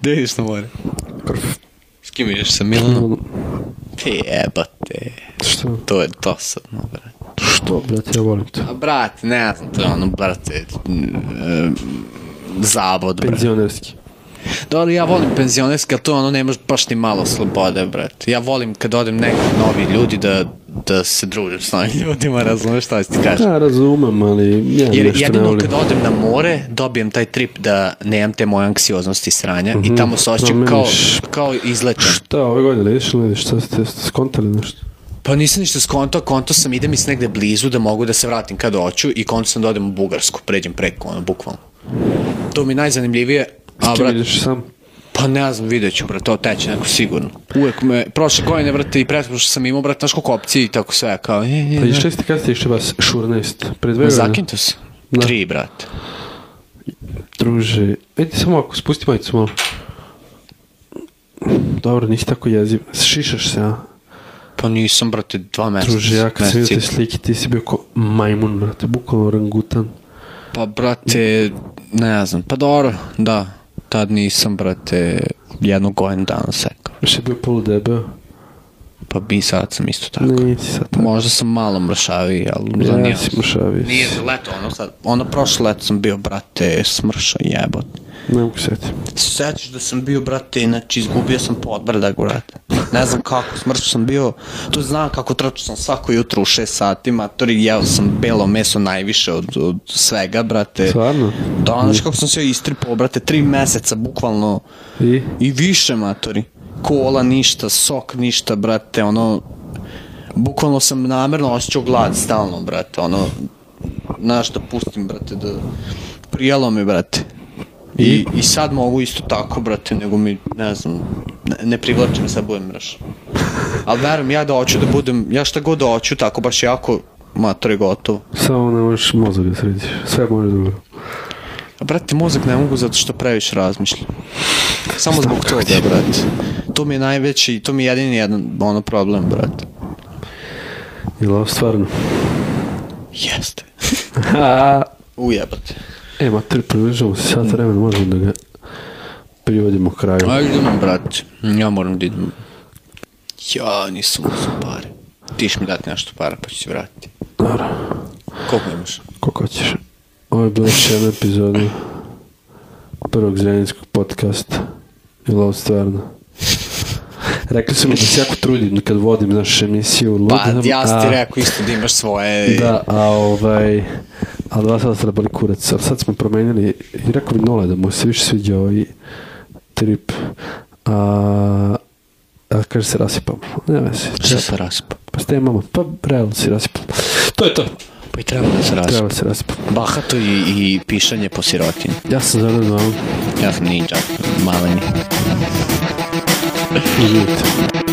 Gde ideš na more? S kim ideš, sa Milanom? Ti jebate,
Ono, Što?
to je dosadno, brate.
Što, brate, ja volim to.
A brate, ne znam, to je ono, brate, e, zavod, brate.
Penzionerski.
Dobro, ja volim penzionerske, ali to je ono, nemaš baš ni malo slobode, brate. Ja volim kad odem neki novi ljudi da, da se družim s novim ljudima, razumeš šta ću ti kažem.
Da, Pa, razumem, ali ja
Jer
nešto ne
jedino
volim.
kad odem na more, dobijem taj trip da nemam te moje anksioznosti i sranja
Mhm.
i tamo se osjećam
meni
kao,
š-
kao izlečen.
Šta, ove godine ideš ili ne ideš, šta ste ste skontali nešto?
Pa nisam ništa skonto, konto sam idem iz negde blizu da mogu da se vratim kad hoću i konto sam da odem u Bugarsku, pređem preko, ono, bukvalno. To mi je najzanimljivije,
A,
a
Kim
brate,
ideš sam?
pa ne znam, vidjet ću, brate, to teče neko sigurno. Uvek me, prošle godine, brate, i pretpošlo što sam imao, brate, znaš koliko opcije i tako sve, kao, e, e,
Pa i
e.
šesti kada ste išli vas, šurnest, pre dve godine.
Zakinuto sam.
Da.
Tri, brate.
Druže, vidi samo ako, spusti majicu malo. Dobro, nisi tako jeziv. Šišaš se, a?
Pa nisam, brate, dva meseca.
Druže, ja kad sam vidio te
meseci.
slike, ti si bio ko majmun, brate, bukvalno rangutan.
Pa, brate, ne znam, pa dobro, da, tad nisam, brate, jednu godinu dana sekao.
Još je bio poludebeo.
Pa bi sad sam isto tako.
Nisi sad tako.
Možda sam malo mršaviji, ali za
Ja
nijans.
si mušavi.
Nije za leto, ono sad, ono prošlo leto sam bio, brate, smršao jebot.
Ne mogu sjetiti.
Sećaš da sam bio, brate, znači izgubio sam podbrdak, brate. Ne znam kako, smršao sam bio, to znam kako tračao sam svako jutro u 6 sati, matori, jeo sam belo meso najviše od, od svega, brate.
Stvarno?
Da, ono, znaš kako sam se istripao, brate, tri meseca, bukvalno,
I?
i više, matori. Kola ništa, sok ništa, brate, ono... Bukvalno sam namerno osjećao glad stalno, brate, ono... Znaš, da pustim, brate, da... Prijelo mi, brate. I, I sad mogu isto tako, brate, nego mi, ne znam, ne, ne privlači me, sad budem mraš. Ali verujem, ja da hoću da budem, ja šta god da hoću, tako baš jako, matore, gotovo.
Samo ne možeš mozog da središ. Sve možeš drugo.
A brate, mozak ne mogu zato što previše razmišljam. Samo zbog toga, brate. To mi je najveći, to mi je jedini jedan ono problem, brate.
Jel ovo stvarno?
Jeste.
Ha!
Ujebate.
E, mater, približamo se sat vremena, možemo da ga privodimo kraju.
Ajde idemo, brate. Ja moram da idem. Ja nisam uzao pare. Ti ćeš mi dati nešto para pa ću ti vratiti.
Dobro,
Koliko imaš?
koliko hoćeš. Ovo je bilo još jedna epizoda prvog zrenjanskog podcasta. Jel ovo stvarno? Rekli su mi da se jako trudim kad vodim našu emisiju. lud
Pa,
sam,
ja sam ti
a-
rekao isto da imaš svoje...
Da, a ovaj... A dva sada ste bili kurac. A sad smo promenili i rekao bi Nole da mu se više sviđa ovaj trip. A, a kaže se rasipamo. Ne vezi.
Šta se raspa?
Pa stemamo. Pa realno si rasipam. To je to.
Pa i treba da se raspa.
Realno si rasipam.
Bahato i, i pišanje po sirotinji.
Ja sam zavrano vam.
Ja sam ninja, maleni.
Živite.